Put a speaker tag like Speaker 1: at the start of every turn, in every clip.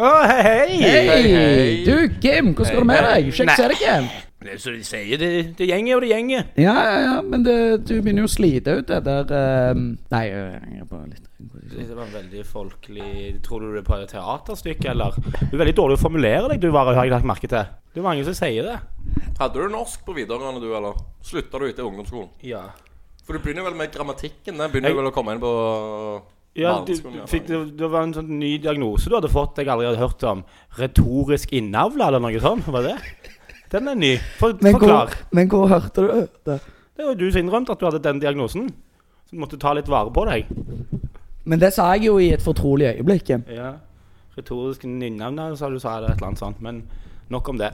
Speaker 1: Å, hei, hei!
Speaker 2: Hei,
Speaker 3: Hei!
Speaker 2: hei.
Speaker 3: Du, Kim, hvordan går det med deg? Kjekt å se deg igjen.
Speaker 1: Det er Så de sier det, det gjenger og det gjenger.
Speaker 3: Ja, ja, ja, men det, du begynner jo å slite ut det der eh, Nei, jeg angrer på litt.
Speaker 1: Det var veldig folkelig Tror du det er på et teaterstykke, eller? Du er veldig dårlig å formulere deg, du, Varg, har jeg lagt merke til. Det er mange som sier det.
Speaker 2: Hadde du norsk på videregående, du, eller? Slutta du etter ungdomsskolen?
Speaker 1: Ja.
Speaker 2: For du begynner vel med grammatikken? Den begynner
Speaker 1: Jeg-
Speaker 2: vel å komme inn på
Speaker 1: Ja, du,
Speaker 2: barneskolen,
Speaker 1: du
Speaker 2: i hvert
Speaker 1: fikk,
Speaker 2: fall.
Speaker 1: det, det var en sånn ny diagnose du hadde fått jeg aldri hadde hørt om. Retorisk innavla, eller noe sånt? Var det? Den er ny. For,
Speaker 3: Men
Speaker 1: forklar.
Speaker 3: hvor, men hvor hørte du det?
Speaker 1: Det var jo du som innrømte at du hadde den diagnosen. Så du måtte ta litt vare på deg.
Speaker 3: Men det sa jeg jo i et fortrolig øyeblikk. Kim.
Speaker 1: Ja. Retorisk innavla, sa du sa det et eller annet sånt. Men nok om det.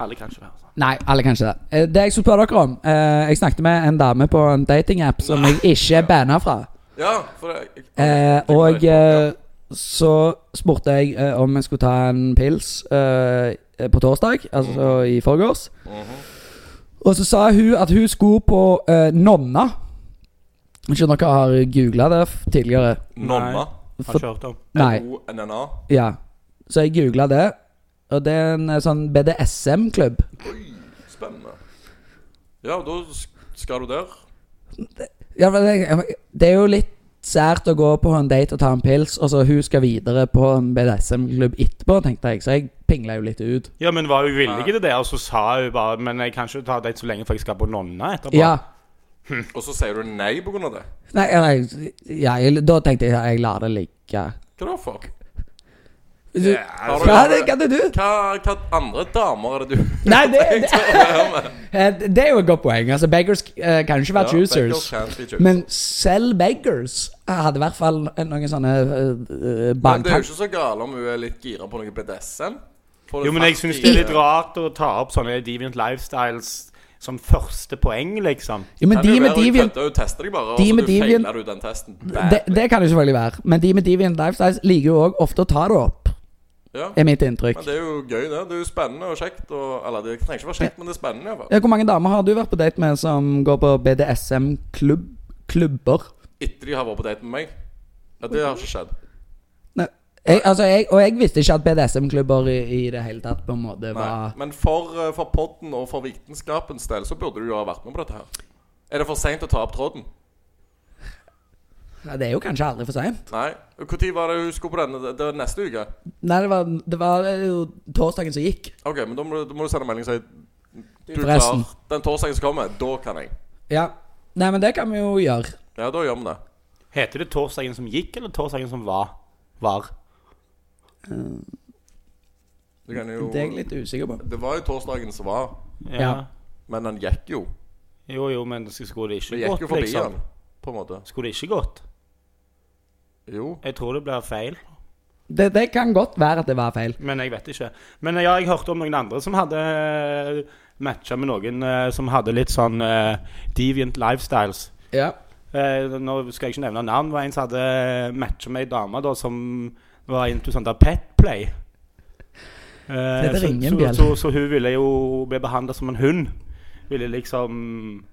Speaker 1: Alle kan ikke være sånn.
Speaker 3: Nei, alle kan ikke det. Eh, Det jeg skulle spørre dere om eh, Jeg snakket med en dame på en datingapp som jeg ikke er banna fra.
Speaker 2: Ja, for det
Speaker 3: Eh,
Speaker 2: jeg-
Speaker 3: og
Speaker 2: Ja.
Speaker 3: eh, så spurte jeg eh, om jeg skulle ta en pils eh, på torsdag, altså i forgårs.
Speaker 2: Mhm.
Speaker 3: Og så sa hun at hun skulle på eh, Nonna. Jeg skjønner dere har googla det f- tidligere.
Speaker 2: Nonna.
Speaker 1: Har ikke hørt om.
Speaker 3: Nei.
Speaker 2: O-N-N-A.
Speaker 3: Ja. Så jeg googla det, og det er en eh, sånn BDSM-klubb.
Speaker 2: Spennende. Ja, da sk- skal du der.
Speaker 3: Ja, men det- det er jo litt sært å gå på en date og ta en pils, og så hun skal videre på en BDSM-klubb etterpå, tenkte jeg, så jeg pingla jo litt ut.
Speaker 1: Ja, men var hun villig til det? Og så sa hun bare Men jeg kan ikke ta date så lenge, for jeg skal på Nonna etterpå.
Speaker 3: Ja.
Speaker 2: Og så sier du nei på grunn av det.
Speaker 3: Nei, ja, nei ja, jeg, da tenkte jeg jeg lar det ligge.
Speaker 2: Hva da for?
Speaker 3: Du,
Speaker 2: Ja, altså-
Speaker 3: hva, er det, hva er det du?
Speaker 2: Hva, hva andre damer er det du
Speaker 3: Nei, det, det,
Speaker 2: det,
Speaker 3: eh, det er jo et godt poeng. Altså, beggars eh, kan ikke være choosers.
Speaker 2: Men,
Speaker 3: Men selv beggars hadde i hvert fall noen sånne uh,
Speaker 2: men det er jo
Speaker 3: banktanker.
Speaker 2: ikke så galt om hun er litt gira på noe BDSM. For
Speaker 1: Jo, men jeg
Speaker 2: faktisk-
Speaker 1: syns det er litt rart å ta opp sånne deviant lifestyles som første poeng, liksom.
Speaker 3: Jo, men
Speaker 2: Kan
Speaker 3: de
Speaker 2: jo
Speaker 3: med
Speaker 2: være hun
Speaker 3: deviant
Speaker 2: kødder, Hun tester deg bare, og
Speaker 3: de
Speaker 2: så
Speaker 3: med
Speaker 2: du
Speaker 3: deviant-
Speaker 2: feiler du den testen.
Speaker 3: det, det kan det selvfølgelig være. Men de med deviant lifestyles liker jo òg ofte å ta det opp,
Speaker 2: Ja.
Speaker 3: er mitt
Speaker 2: Men
Speaker 3: inntrykk.
Speaker 2: det er jo gøy, det. Det er jo spennende og kjekt. Og, eller det trenger ikke være kjekt, men det er spennende. i hvert fall.
Speaker 3: Ja, hvor mange damer har du vært på date med som går på BDSM-klubber? Klubber?
Speaker 2: Etter de har vært på date med meg. Ja, det har ikke skjedd.
Speaker 3: Nei, jeg, altså jeg, og jeg visste ikke at BDSM-klubber i, i det hele tatt på en måte
Speaker 2: Nei.
Speaker 3: var
Speaker 2: Men for, eh, for podden og for vitenskapens del så burde du jo ha vært med på dette her. Er det for seint å ta opp tråden?
Speaker 3: ja, Det er jo kanskje aldri for seint.
Speaker 2: Nei. Når var det hun skulle på denne? Det var neste uke?
Speaker 3: Nei, det var, det var jo torsdagen som gikk.
Speaker 2: Ok, men da må du, da må du sende melding og si Du er
Speaker 3: Forresten.
Speaker 2: klar den torsdagen som kommer. Da kan jeg.
Speaker 3: Ja. Nei, men det kan vi jo gjøre.
Speaker 2: Ja, da gjør vi det.
Speaker 1: Heter det torsdagen som gikk, eller torsdagen som var? Var.
Speaker 2: Du kan jo
Speaker 3: Det er jeg litt usikker på.
Speaker 2: Det var jo torsdagen som var,
Speaker 3: Ja.
Speaker 2: men den gikk jo.
Speaker 1: Jo, jo, men sk- skulle det
Speaker 2: Vi
Speaker 1: ikke
Speaker 2: gikk jo
Speaker 1: gått,
Speaker 2: forbi
Speaker 1: liksom?
Speaker 2: den, på en måte.
Speaker 1: Skulle det ikke gått?
Speaker 2: Jo.
Speaker 1: Jeg tror det blir feil,
Speaker 3: Det, det kan godt være at det var feil.
Speaker 1: men jeg vet ikke. Men ja, jeg hørte om noen andre som hadde eh, matcha med noen eh, som hadde litt sånn eh, deviant lifestyles.
Speaker 3: Ja.
Speaker 1: Eh, nå skal jeg ikke nevne navn. Det var en som hadde matcha med ei dame da, som var into sånn der petplay. Eh,
Speaker 3: Dette
Speaker 1: så,
Speaker 3: ringer en
Speaker 1: så,
Speaker 3: bjelle.
Speaker 1: så, så hun ville jo bli behandla som en hund. Ville liksom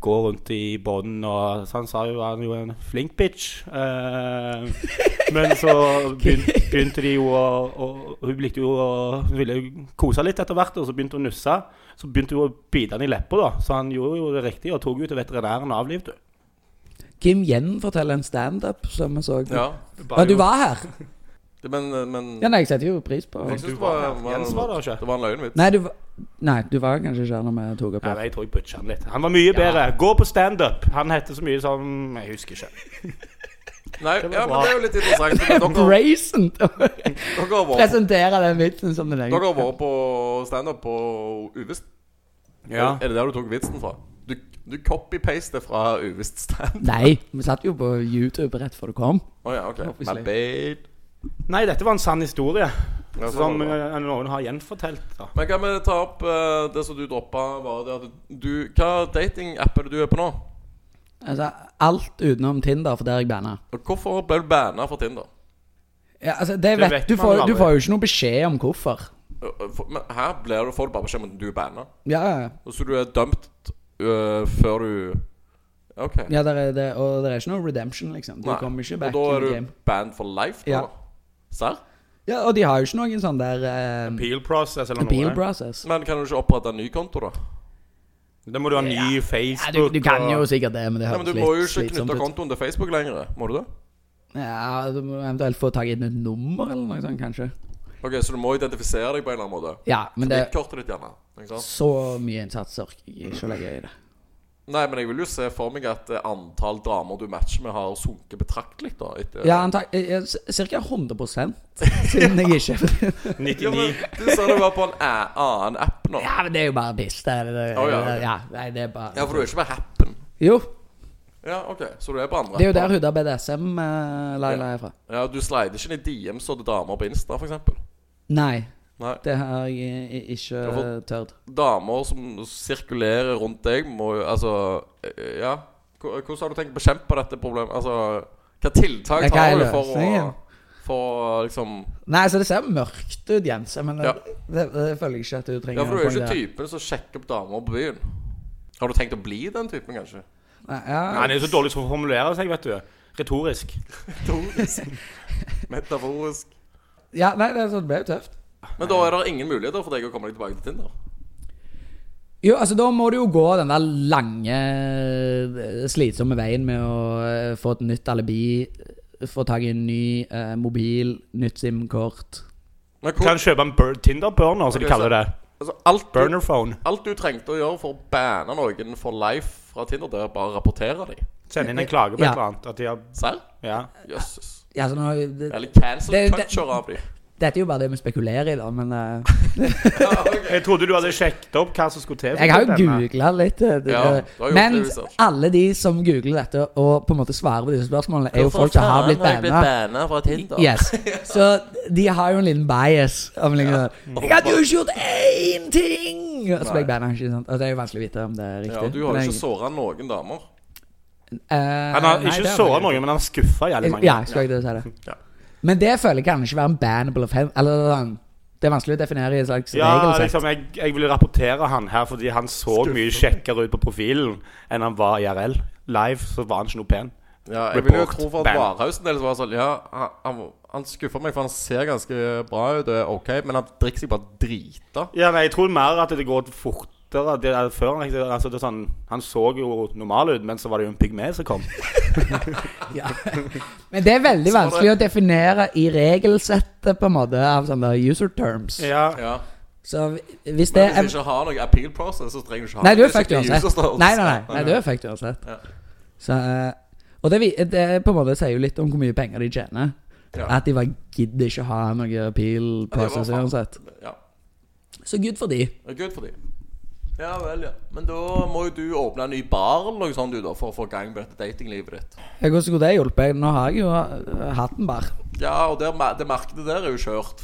Speaker 1: gå rundt i bånd og sånn, sa hun var jo en flink bitch. Eh, men så begynte, begynte de jo å å- Hun likte jo å Hun ville jo kose litt etter hvert, og så begynte hun å nusse. Så begynte hun å bite han i leppa, da. Så han gjorde jo det riktige og tok henne til veterinæren og avlivet henne.
Speaker 3: Kim gjenforteller en standup som vi så.
Speaker 2: Ja.
Speaker 3: Å, du var her?
Speaker 2: Det, men men
Speaker 3: Ja, nei, jeg setter jo pris på
Speaker 2: jeg synes
Speaker 1: Du
Speaker 2: det
Speaker 1: var
Speaker 2: var,
Speaker 1: her. Jens var der ikke.
Speaker 2: det var en løgnvits.
Speaker 3: Nei, du var Nei, du var kanskje ikke her når vi tok opp.
Speaker 1: Nei,
Speaker 3: her.
Speaker 1: jeg tror jeg butcha han litt. Han var mye bedre. Gå på standup. Han heter så mye som Jeg husker ikke.
Speaker 2: Nei,
Speaker 1: Det var
Speaker 2: ja, men
Speaker 1: bra.
Speaker 2: det er jo litt interessant. men Dere,
Speaker 3: Brazen!
Speaker 2: dere har vært-
Speaker 3: Presentere den vitsen som den
Speaker 2: dere
Speaker 3: egen.
Speaker 2: har vært på standup på Uvisst. Er det der du tok vitsen fra? Du, du copy-paster fra Uvisst standup?
Speaker 3: Nei, vi satt jo på YouTube rett før du kom.
Speaker 2: Å ja, OK.
Speaker 3: Obviously.
Speaker 2: My bad.
Speaker 1: Nei, dette var en sann historie
Speaker 2: Ja, så
Speaker 1: som
Speaker 2: var det
Speaker 1: eh, noen har gjenfortalt. Da.
Speaker 2: Men kan vi ta opp eh, det som du droppa, var det at du Hva datingapp er det du er på nå?
Speaker 3: Altså, alt utenom Tinder, for der er jeg banna.
Speaker 2: Og hvorfor ble du banna fra Tinder?
Speaker 3: Ja, altså, det vet,
Speaker 1: vet
Speaker 3: du,
Speaker 1: man
Speaker 3: får,
Speaker 1: jo
Speaker 3: du
Speaker 1: aldri.
Speaker 3: får jo ikke noe beskjed om hvorfor.
Speaker 2: Ø- ø, for- Men her blir du, får du bare beskjed om at du er banna.
Speaker 3: Ja, ja.
Speaker 2: Og så du er dømt ø, før du OK.
Speaker 3: ja der er det, og det er ikke noe redemption, liksom. Du
Speaker 2: Nei.
Speaker 3: kommer ikke
Speaker 2: Og
Speaker 3: back
Speaker 2: da
Speaker 3: in
Speaker 2: er
Speaker 3: the
Speaker 2: du
Speaker 3: game.
Speaker 2: banned for life, da?
Speaker 3: Ja.
Speaker 2: da? Serr?
Speaker 3: Ja, og de har jo ikke noen sånn der eh,
Speaker 1: Appeal process eller
Speaker 3: appeal
Speaker 1: noe.
Speaker 3: process.
Speaker 2: Men kan du ikke opprette en ny konto, da?
Speaker 1: Da må du ha ny
Speaker 3: Ja,
Speaker 1: Facebook.
Speaker 3: du, du kan jo
Speaker 1: og-
Speaker 3: sikkert det, men det
Speaker 2: Nei,
Speaker 3: høres
Speaker 2: men Du må jo
Speaker 3: litt
Speaker 2: ikke knytte
Speaker 3: slitsomt ut.
Speaker 2: kontoen til Facebook lenger. Må du det?
Speaker 3: Ja, Du må eventuelt få tak i et nytt nummer eller noe sånt, kanskje.
Speaker 2: Ok, Så du må identifisere deg på en eller annen måte.
Speaker 3: Ja, men det er
Speaker 2: Kredittkortet ditt, gjerne. Ikke sant?
Speaker 3: så mye innsats orker jeg ikke å legge i det.
Speaker 2: Nei, men jeg vil jo se for meg at eh, antall damer du matcher med, har sunket betraktelig. da etter
Speaker 3: Ja, antak Ca. 100 siden jeg ikke
Speaker 1: 99.
Speaker 2: Ja, men Du sa det var på en æ- annen app nå.
Speaker 3: Ja, men det er jo bare piss. Det, er- det,
Speaker 2: Å, ja, ok.
Speaker 3: ja, nei, det er bare
Speaker 2: Ja, for du er ikke med Happen.
Speaker 3: Jo,
Speaker 2: Ja, ok, Så du er på andre
Speaker 3: det er jo der
Speaker 2: apper.
Speaker 3: hun der BDSM-Laila er fra.
Speaker 2: Ja, Du slider ikke ned DMs og til damer på Insta, f.eks.
Speaker 3: Nei,
Speaker 2: Nei.
Speaker 3: det har jeg i- ikke
Speaker 2: for-
Speaker 3: tørt.
Speaker 2: Damer som sirkulerer rundt deg, må jo Altså, eh, ja Hvor- Hvordan har du tenkt å bekjempe dette problemet? Altså, hva tiltak
Speaker 3: Ja, hva
Speaker 2: tar du
Speaker 3: er
Speaker 2: for å
Speaker 3: løsningen?
Speaker 2: For å liksom
Speaker 3: Nei, så det ser mørkt ut, Jens, men
Speaker 2: Ja.
Speaker 3: det, det, det føler jeg ikke at du trenger.
Speaker 2: Ja, for du
Speaker 3: å
Speaker 2: er jo ikke
Speaker 3: poengtere.
Speaker 2: typen som sjekker opp damer på byen. Har du tenkt å bli den typen, kanskje?
Speaker 3: Nei, ja.
Speaker 1: Nei, Han er jo så dårlig til å formulere seg, vet du. Retorisk.
Speaker 2: Metaforisk. Metaforisk.
Speaker 3: ja, nei, det, er sånn, det ble jo tøft.
Speaker 2: Men da er det ingen muligheter for deg å komme deg tilbake til Tinder.
Speaker 3: Jo, altså Da må du jo gå den der lange, eh, slitsomme veien med å eh, få et nytt alibi, få tak i en ny eh, mobil, nytt SIM-kort.
Speaker 2: Men
Speaker 1: Kan
Speaker 2: hvor,
Speaker 1: kjøpe en bur Tinder burner, som de
Speaker 2: Ok,
Speaker 1: kaller
Speaker 2: så-
Speaker 1: det.
Speaker 2: altså, alt, du,
Speaker 1: Burner phone.
Speaker 2: alt du trengte å gjøre for å banne noen for life fra Tinder, det er bare å rapportere dem.
Speaker 1: Send inn en klage på et
Speaker 3: Ja.
Speaker 1: eller annet. At de har
Speaker 2: Serr?
Speaker 1: Ja.
Speaker 2: Jøsses.
Speaker 3: Ja, så nå, det,
Speaker 2: Eller cancel
Speaker 3: Eh, Det- det-
Speaker 2: culture av dem.
Speaker 3: dette er jo bare det vi spekulerer i, da, men eh,
Speaker 1: Jeg trodde du hadde sjekket opp hva som skulle til. for
Speaker 3: Jeg har
Speaker 1: å
Speaker 3: jo
Speaker 1: denne.
Speaker 3: googla litt. eh, det-
Speaker 2: Ja, du har gjort
Speaker 3: men
Speaker 2: det, research.
Speaker 3: alle de som googler dette og på en måte svarer på disse spørsmålene, er jo folk som har blitt banna.
Speaker 2: banna fra Tinder?
Speaker 3: Yes. Så de har jo en liten bias. Om liksom, Jeg hadde jo ikke gjort én ting! Og så ble jeg banna. ikke sant? Altså, det er jo vanskelig å vite om det er riktig.
Speaker 2: Ja, du har
Speaker 3: Men
Speaker 2: jo ikke
Speaker 3: jeg-
Speaker 2: såra noen damer.
Speaker 3: Eh,
Speaker 1: Han har
Speaker 3: nei, det
Speaker 1: ikke
Speaker 3: har
Speaker 1: såret
Speaker 3: jeg
Speaker 1: noen, men han skuffa jævlig mange.
Speaker 3: Ja, jeg skulle ikke si det.
Speaker 2: Ja.
Speaker 3: Men det føler jeg kan ikke være en bannable offense. Eller sånn. Det er vanskelig å definere i et slags
Speaker 1: Ja,
Speaker 3: regelsett.
Speaker 1: liksom, jeg, jeg ville rapportere han her fordi han så mye kjekkere ut på profilen enn han var IRL. Live så var han ikke noe pen.
Speaker 2: Ja, jeg vil jo
Speaker 1: Report.
Speaker 2: tro for at
Speaker 1: Ban.
Speaker 2: Varhaus en del var sånn Ja, han, han- han skuffer meg, for han ser ganske bra ut, det er OK, men han drikker seg bare drita.
Speaker 1: Ja, nei, Jeg tror mer at det går fortere det er før. liksom, Altså, det er sånn, han så jo normal ut, men så var det jo en pygme som kom.
Speaker 3: Ja. Men det er veldig
Speaker 2: Så var
Speaker 3: vanskelig å definere i regelsettet, på en måte, av sånne user terms.
Speaker 1: Ja,
Speaker 2: Ja.
Speaker 3: Så hvis det
Speaker 2: Men
Speaker 3: er
Speaker 2: hvis du ikke har noe appeal process, så trenger du ikke ha
Speaker 3: Nei, du
Speaker 2: det.
Speaker 3: er fucked
Speaker 2: Det ikke
Speaker 3: uansett.
Speaker 2: user
Speaker 3: Nei, nei, nei,
Speaker 2: stories.
Speaker 3: nei, du er fucked uansett.
Speaker 2: Ja.
Speaker 3: Så eh, Og det, vi- det på en måte sier jo litt om hvor mye penger de tjener.
Speaker 2: Ja.
Speaker 3: At de bare gidder ikke ha noe appeal
Speaker 2: Ja, det var
Speaker 3: process
Speaker 2: faen.
Speaker 3: uansett.
Speaker 2: Ja.
Speaker 3: Så good for de.
Speaker 2: Det er good for de. Ja vel, ja. Men da må jo du åpne en ny bar eller noe sånt, du, da, for å få gang på dette datinglivet ditt.
Speaker 3: Ja, Hvordan skulle det hjulpet? Nå har jeg jo eh, hatt den bare.
Speaker 2: Ja, og der, ma- det markedet der er jo kjørt.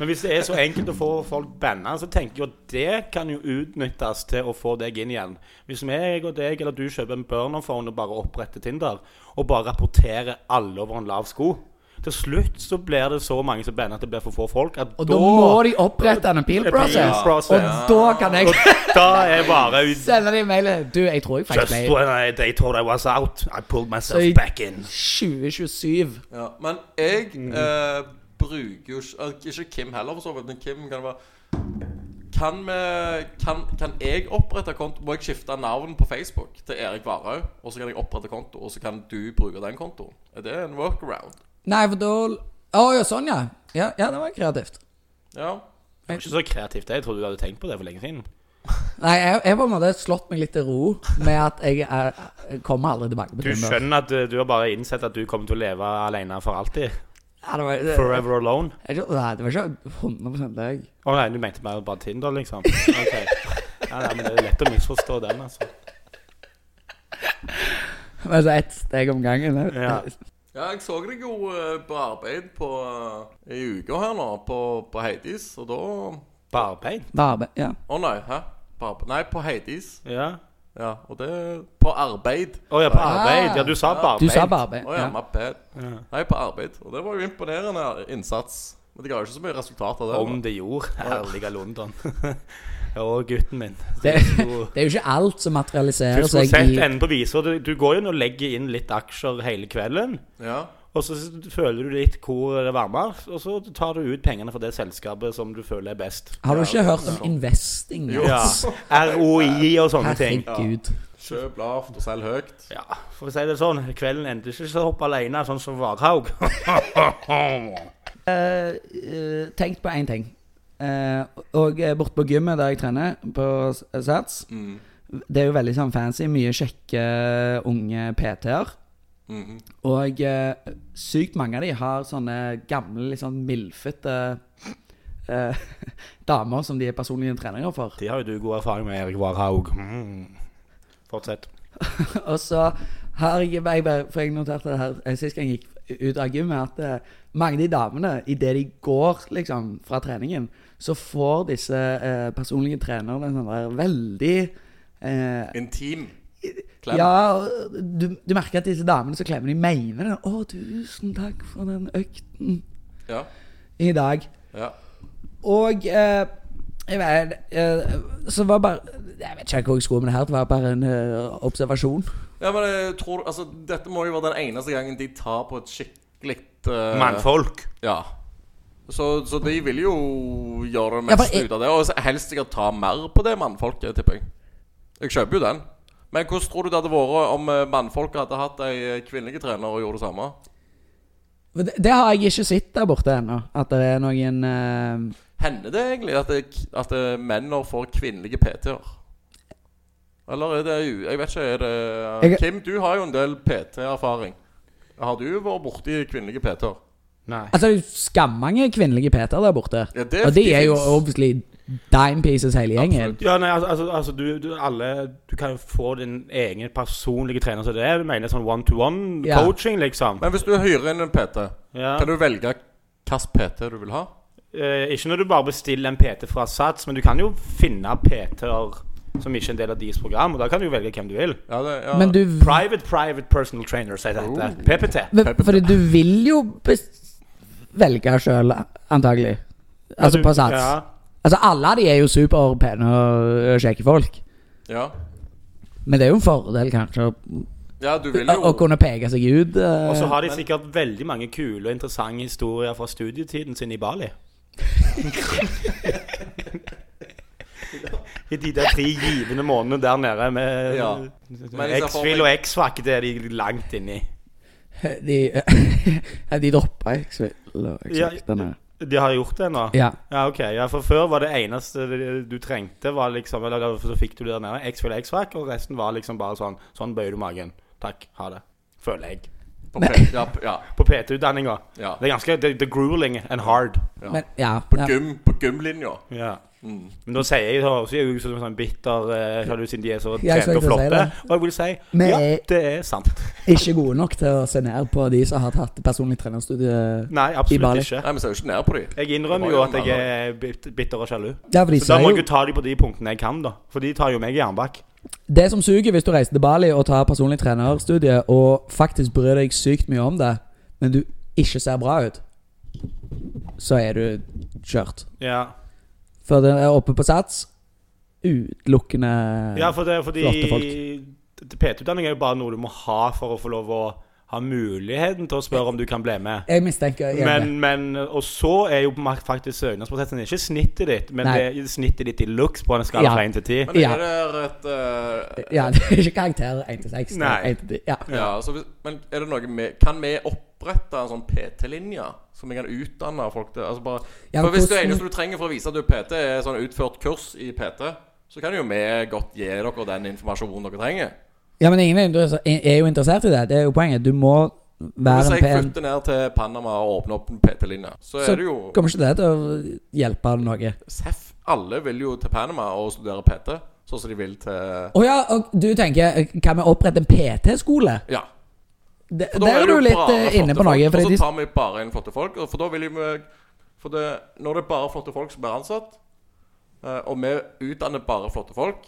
Speaker 1: Men hvis det er så enkelt å få folk banna, så tenker jeg at det kan jo utnyttes til å få deg inn igjen. Hvis meg og deg eller du kjøper en burnerphone og bare oppretter Tinder, og bare rapporterer alle over en lav sko til slutt så blir det så mange som banner at det blir for få folk. At
Speaker 3: Og da må de opprette en appeal
Speaker 1: Appeal
Speaker 3: process.
Speaker 1: process.
Speaker 3: Og da kan jeg
Speaker 1: Da er bare Just
Speaker 3: sende dem mail. Du, jeg tror jeg faktisk ble
Speaker 1: when I, they thought I was out, I pulled myself
Speaker 3: Så-
Speaker 1: back in.
Speaker 3: 2027.
Speaker 2: Ja. Men jeg eh, bruker jo ikke eh, Ikke Kim heller, for så vidt, men Kim kan det være kan, vi, kan, kan jeg opprette konto? Må jeg skifte navn på Facebook til Erik Varhaug? Og så kan jeg opprette konto, og så kan du bruke den kontoen? Er det en workaround?
Speaker 3: Nei, for da Å ja, sånn, ja. ja. Ja, det var kreativt.
Speaker 2: Ja.
Speaker 1: Det var ikke så kreativt. Jeg trodde du hadde tenkt på det for lenge siden.
Speaker 3: Nei, jeg jeg på en måte slått meg litt til ro med at jeg er, jeg kommer aldri tilbake på
Speaker 1: Du
Speaker 3: Tinder.
Speaker 1: skjønner at eh, du har bare innsett at du kommer til å leve alene for alltid.
Speaker 3: Ja, det var, det,
Speaker 1: Forever alone.
Speaker 3: jeg, tror- nei, det var ikke 100 deg.
Speaker 1: Å nei, du mente bare, bare Tinder, liksom? Ok. Ja, nei, men Det er lett å misforstå den, altså.
Speaker 3: Men altså ett steg om gangen. det-
Speaker 1: Ja.
Speaker 2: Ja, jeg så deg jo eh, på arbeid på, eh, i uka her nå, på, på Heidis, og da Å
Speaker 1: Barbein?
Speaker 3: Barbe, ja.
Speaker 2: nei, hæ? På arbeid. Nei, på Heidis.
Speaker 1: Ja.
Speaker 2: Ja, og det På arbeid.
Speaker 1: Å ja, på arbeid. Ja, du sa barbein.
Speaker 3: Ah. Du sa barbe.
Speaker 2: Å ja,
Speaker 3: Ja.
Speaker 2: my bad. Nei, på arbeid. Og det var jo imponerende innsats. Men det ga jo ikke så mye resultat av det.
Speaker 1: Om det gjorde. Herlige London. Å, gutten min.
Speaker 3: Det,
Speaker 1: Du
Speaker 3: det er jo ikke alt som materialiserer
Speaker 1: skulle
Speaker 3: seg
Speaker 1: sett
Speaker 3: i
Speaker 1: enden på visa. Du, du går jo inn og legger inn litt aksjer hele kvelden.
Speaker 2: Ja.
Speaker 1: Og så føler du litt hvor det varmer, og så tar du ut pengene fra det selskapet som du føler er best.
Speaker 3: Har du ikke
Speaker 2: Ja,
Speaker 3: hørt
Speaker 2: sant.
Speaker 3: om investing?
Speaker 2: Jo.
Speaker 1: Ja. ROI og sånne ting.
Speaker 3: Herregud.
Speaker 2: Kjøp lavt og selg høyt.
Speaker 1: Ja, for å si det sånn, kvelden endte ikke så opp alene, sånn som Varhaug.
Speaker 3: Eh, eh, tenk på én ting. Eh, og eh, borte på gymmet der jeg trener, på S- eh, Sats
Speaker 2: Mm.
Speaker 3: Det er jo veldig sånn fancy. Mye kjekke unge PT-er.
Speaker 2: Mhm.
Speaker 3: Og eh, sykt mange av de har sånne gamle, litt sånn milfete eh, damer som de er personlige trenere for.
Speaker 1: De har jo du god erfaring med, Erik Varhaug. Mm. Fortsett.
Speaker 3: Og så har jeg, jeg bare- For jeg noterte det her eh, sist gang jeg gikk ut av gymmet, at eh, mange av de damene, idet de går liksom fra treningen, så får disse eh, personlige trenerne en sånn der veldig eh,
Speaker 2: Intim. Klem.
Speaker 3: Ja, og du, du merker at disse damene så klemmer de meiene. 'Å, tusen takk for den økten
Speaker 2: Ja.
Speaker 3: i dag.'
Speaker 2: ja.
Speaker 3: Og eh, jeg vet, eh, Så var bare Jeg vet ikke hvor jeg skulle med det her. Det var bare en eh, observasjon.
Speaker 2: Ja, men jeg tror altså, Dette må jo være den eneste gangen de tar på et skikkelig eh,
Speaker 1: Mannfolk.
Speaker 2: Ja. Så, så de vil jo gjøre det
Speaker 3: Ja,
Speaker 2: meste
Speaker 3: bare jeg-
Speaker 2: ut av det. Og så helst sikkert ta mer på det mannfolket, tipper jeg. Jeg kjøper jo den. Men hvordan tror du det hadde vært om eh, mannfolket hadde hatt ei eh, kvinnelig trener og gjorde det samme?
Speaker 3: Men Det, det har jeg ikke sett der borte ennå. At det er noen eh,
Speaker 2: Hender det egentlig at, det, at det menner får kvinnelige PT-er? Eller er det u- Jeg vet ikke. Er det eh,
Speaker 3: Jeg-
Speaker 2: Kim, du har jo en del PT-erfaring. Har du vært borti kvinnelige PT-er?
Speaker 1: Nei.
Speaker 3: Altså, det er jo skammange kvinnelige Peter der borte.
Speaker 2: Ja, det-
Speaker 3: Og de
Speaker 2: de
Speaker 3: er jo
Speaker 2: finnes.
Speaker 3: obviously dime pieces hele gjengen.
Speaker 2: Absolutt.
Speaker 1: Ja, nei, altså, altså, altså du, du, alle, du kan jo få din egen personlige trener, så det er, du mener sånn
Speaker 3: Ja.
Speaker 1: one-to-one-coaching, liksom.
Speaker 2: Men hvis du hyrer inn en PT,
Speaker 1: Ja.
Speaker 2: kan du velge hvilken PT du vil ha?
Speaker 1: Eh, ikke når du bare bestiller en PT fra Sats, men du kan jo finne PT-er som ikke er en del av deres program, og da kan du jo velge hvem du vil.
Speaker 2: Ja, det, ja.
Speaker 3: Men du
Speaker 1: Private Private Personal Trainer, sier
Speaker 3: Oh.
Speaker 1: dette. PPT.
Speaker 3: men, Fordi du vil jo bes- velge sjøl, antagelig. Altså på sats.
Speaker 1: Ja.
Speaker 3: Altså, alle de er jo superpene og kjekke folk.
Speaker 2: ja.
Speaker 3: Men det er jo en fordel, kanskje, å,
Speaker 2: ja, du vil
Speaker 3: å
Speaker 2: jo
Speaker 3: kunne peke seg ut. eh.
Speaker 1: Og så har de sikkert veldig mange kule og interessante historier fra studietiden sin i Bali. I de der tre givende månedene der nede med
Speaker 2: Ja. Men jeg ser for
Speaker 1: X-Fill og
Speaker 2: meg-
Speaker 1: X-Fac, det er de langt inni.
Speaker 3: De, ja, de droppa X-Fill og
Speaker 1: Ja.
Speaker 3: X-Fiktene.
Speaker 1: De har gjort det nå?
Speaker 3: Ja.
Speaker 1: Ja, ok. Ja, for før var det eneste du trengte, var liksom Eller eller så fikk du det der nede. X-Fill og X-Fac, og resten var liksom bare sånn Sånn bøyer du magen. Takk. Ha det. Føler jeg.
Speaker 2: på PT, ja, p- ja,
Speaker 1: På PT-utdanninga.
Speaker 2: ja,
Speaker 1: Det er ganske det, det er grueling and hard.
Speaker 2: ja.
Speaker 3: Men ja,
Speaker 2: På,
Speaker 3: ja.
Speaker 2: gym, på gymlinja.
Speaker 1: Ja.
Speaker 2: Mm.
Speaker 1: Men da sier jeg så sier jeg jo som en sånn bitter eh, sjalu siden de er så
Speaker 3: Jeg
Speaker 1: trente
Speaker 3: skal
Speaker 1: og
Speaker 3: ikke si
Speaker 1: flotte. og
Speaker 3: det.
Speaker 1: jeg vil si
Speaker 3: Men-
Speaker 1: ja, det er sant.
Speaker 3: Ikke gode nok til å se ned på de som har tatt personlig trenerstudie.
Speaker 1: Nei, absolutt
Speaker 3: Bali.
Speaker 1: ikke.
Speaker 2: Nei, vi ser jo ikke ned på dem.
Speaker 1: Jeg innrømmer jo at jeg er bit- bitter og sjalu.
Speaker 3: Ja, for de
Speaker 1: Så da
Speaker 3: sier
Speaker 1: må
Speaker 3: jo
Speaker 1: jeg jo ta de på de punktene jeg kan, da. For de tar jo meg i jernbakk.
Speaker 3: Det som suger hvis du reiser til Bali og tar personlig trenerstudie, og faktisk bryr deg sykt mye om det, men du ikke ser bra ut, så er du kjørt.
Speaker 1: Ja.
Speaker 3: For den er oppe på sats utelukkende
Speaker 1: ja, for det er fordi
Speaker 3: Flotte folk.
Speaker 1: det- PT-utdanning er jo bare noe du må ha for å få lov å ha muligheten til å spørre om du kan bli med.
Speaker 3: Jeg mistenker igjen det.
Speaker 1: Men, men, og så er jo mak- faktisk søknadsprosessen ikke snittet ditt, men
Speaker 3: Nei.
Speaker 1: det er snittet ditt i looks på en skala
Speaker 3: Ja.
Speaker 1: fra 1 til 10.
Speaker 2: Men er
Speaker 3: Ja.
Speaker 2: det et eh,
Speaker 3: Ja, det er ikke karakterer 1 til 6.
Speaker 1: Nei.
Speaker 3: Ja.
Speaker 2: Ja, så hvis, Men er det noe med Kan vi opprette en sånn PT-linje? Som vi kan utdanne folk til? Altså bare,
Speaker 3: Ja,
Speaker 2: for
Speaker 3: men
Speaker 2: Hvis det
Speaker 3: hvordan-
Speaker 2: eneste du trenger for å vise at du er PT, er sånn utført kurs i PT, så kan jo vi godt gi dere den informasjonen dere trenger.
Speaker 3: ja, men ingen er interess- er jo interessert i det. Det er jo poenget. Du må
Speaker 2: Hvis
Speaker 3: være
Speaker 2: jeg
Speaker 3: en pen
Speaker 2: flytter ned til Panama og åpner opp en PT-linje, så
Speaker 3: Så
Speaker 2: er det jo
Speaker 3: kommer ikke det til å hjelpe noe.
Speaker 2: Seff. Alle vil jo til Panama og studere PT, sånn som de vil til
Speaker 3: Å ja, og du tenker Kan vi opprette en PT-skole?
Speaker 2: Ja.
Speaker 3: Det-
Speaker 2: For da
Speaker 3: Der er
Speaker 2: det
Speaker 3: du
Speaker 2: jo
Speaker 3: litt
Speaker 2: bare
Speaker 3: eh, inne
Speaker 2: flotte
Speaker 3: på noe.
Speaker 2: folk,
Speaker 3: Fordi
Speaker 2: Og
Speaker 3: de
Speaker 2: så tar vi bare inn flotte folk. og For da vil jo vi For det, når det er bare flotte folk som blir ansatt, eh, og vi utdanner bare flotte folk,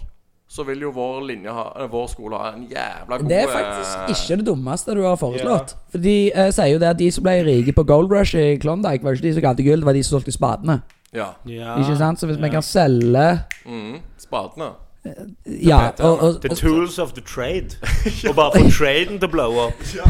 Speaker 2: så vil jo vår linje ha, eh, vår skole ha en jævla god
Speaker 3: Det er
Speaker 2: eh,
Speaker 3: faktisk ikke det dummeste du har foreslått.
Speaker 1: Ja.
Speaker 3: For de eh, sier jo det at de som ble rike på Gold Rush i Klondyke, var ikke de som ga til gull, det var de som solgte spadene.
Speaker 2: Ja.
Speaker 1: Ja.
Speaker 3: Ikke sant? Så hvis vi kan selge
Speaker 2: Mm, spadene.
Speaker 3: Ja, og, og,
Speaker 1: The tools of the trade. Og bare få traden til å blow up.
Speaker 2: Ja.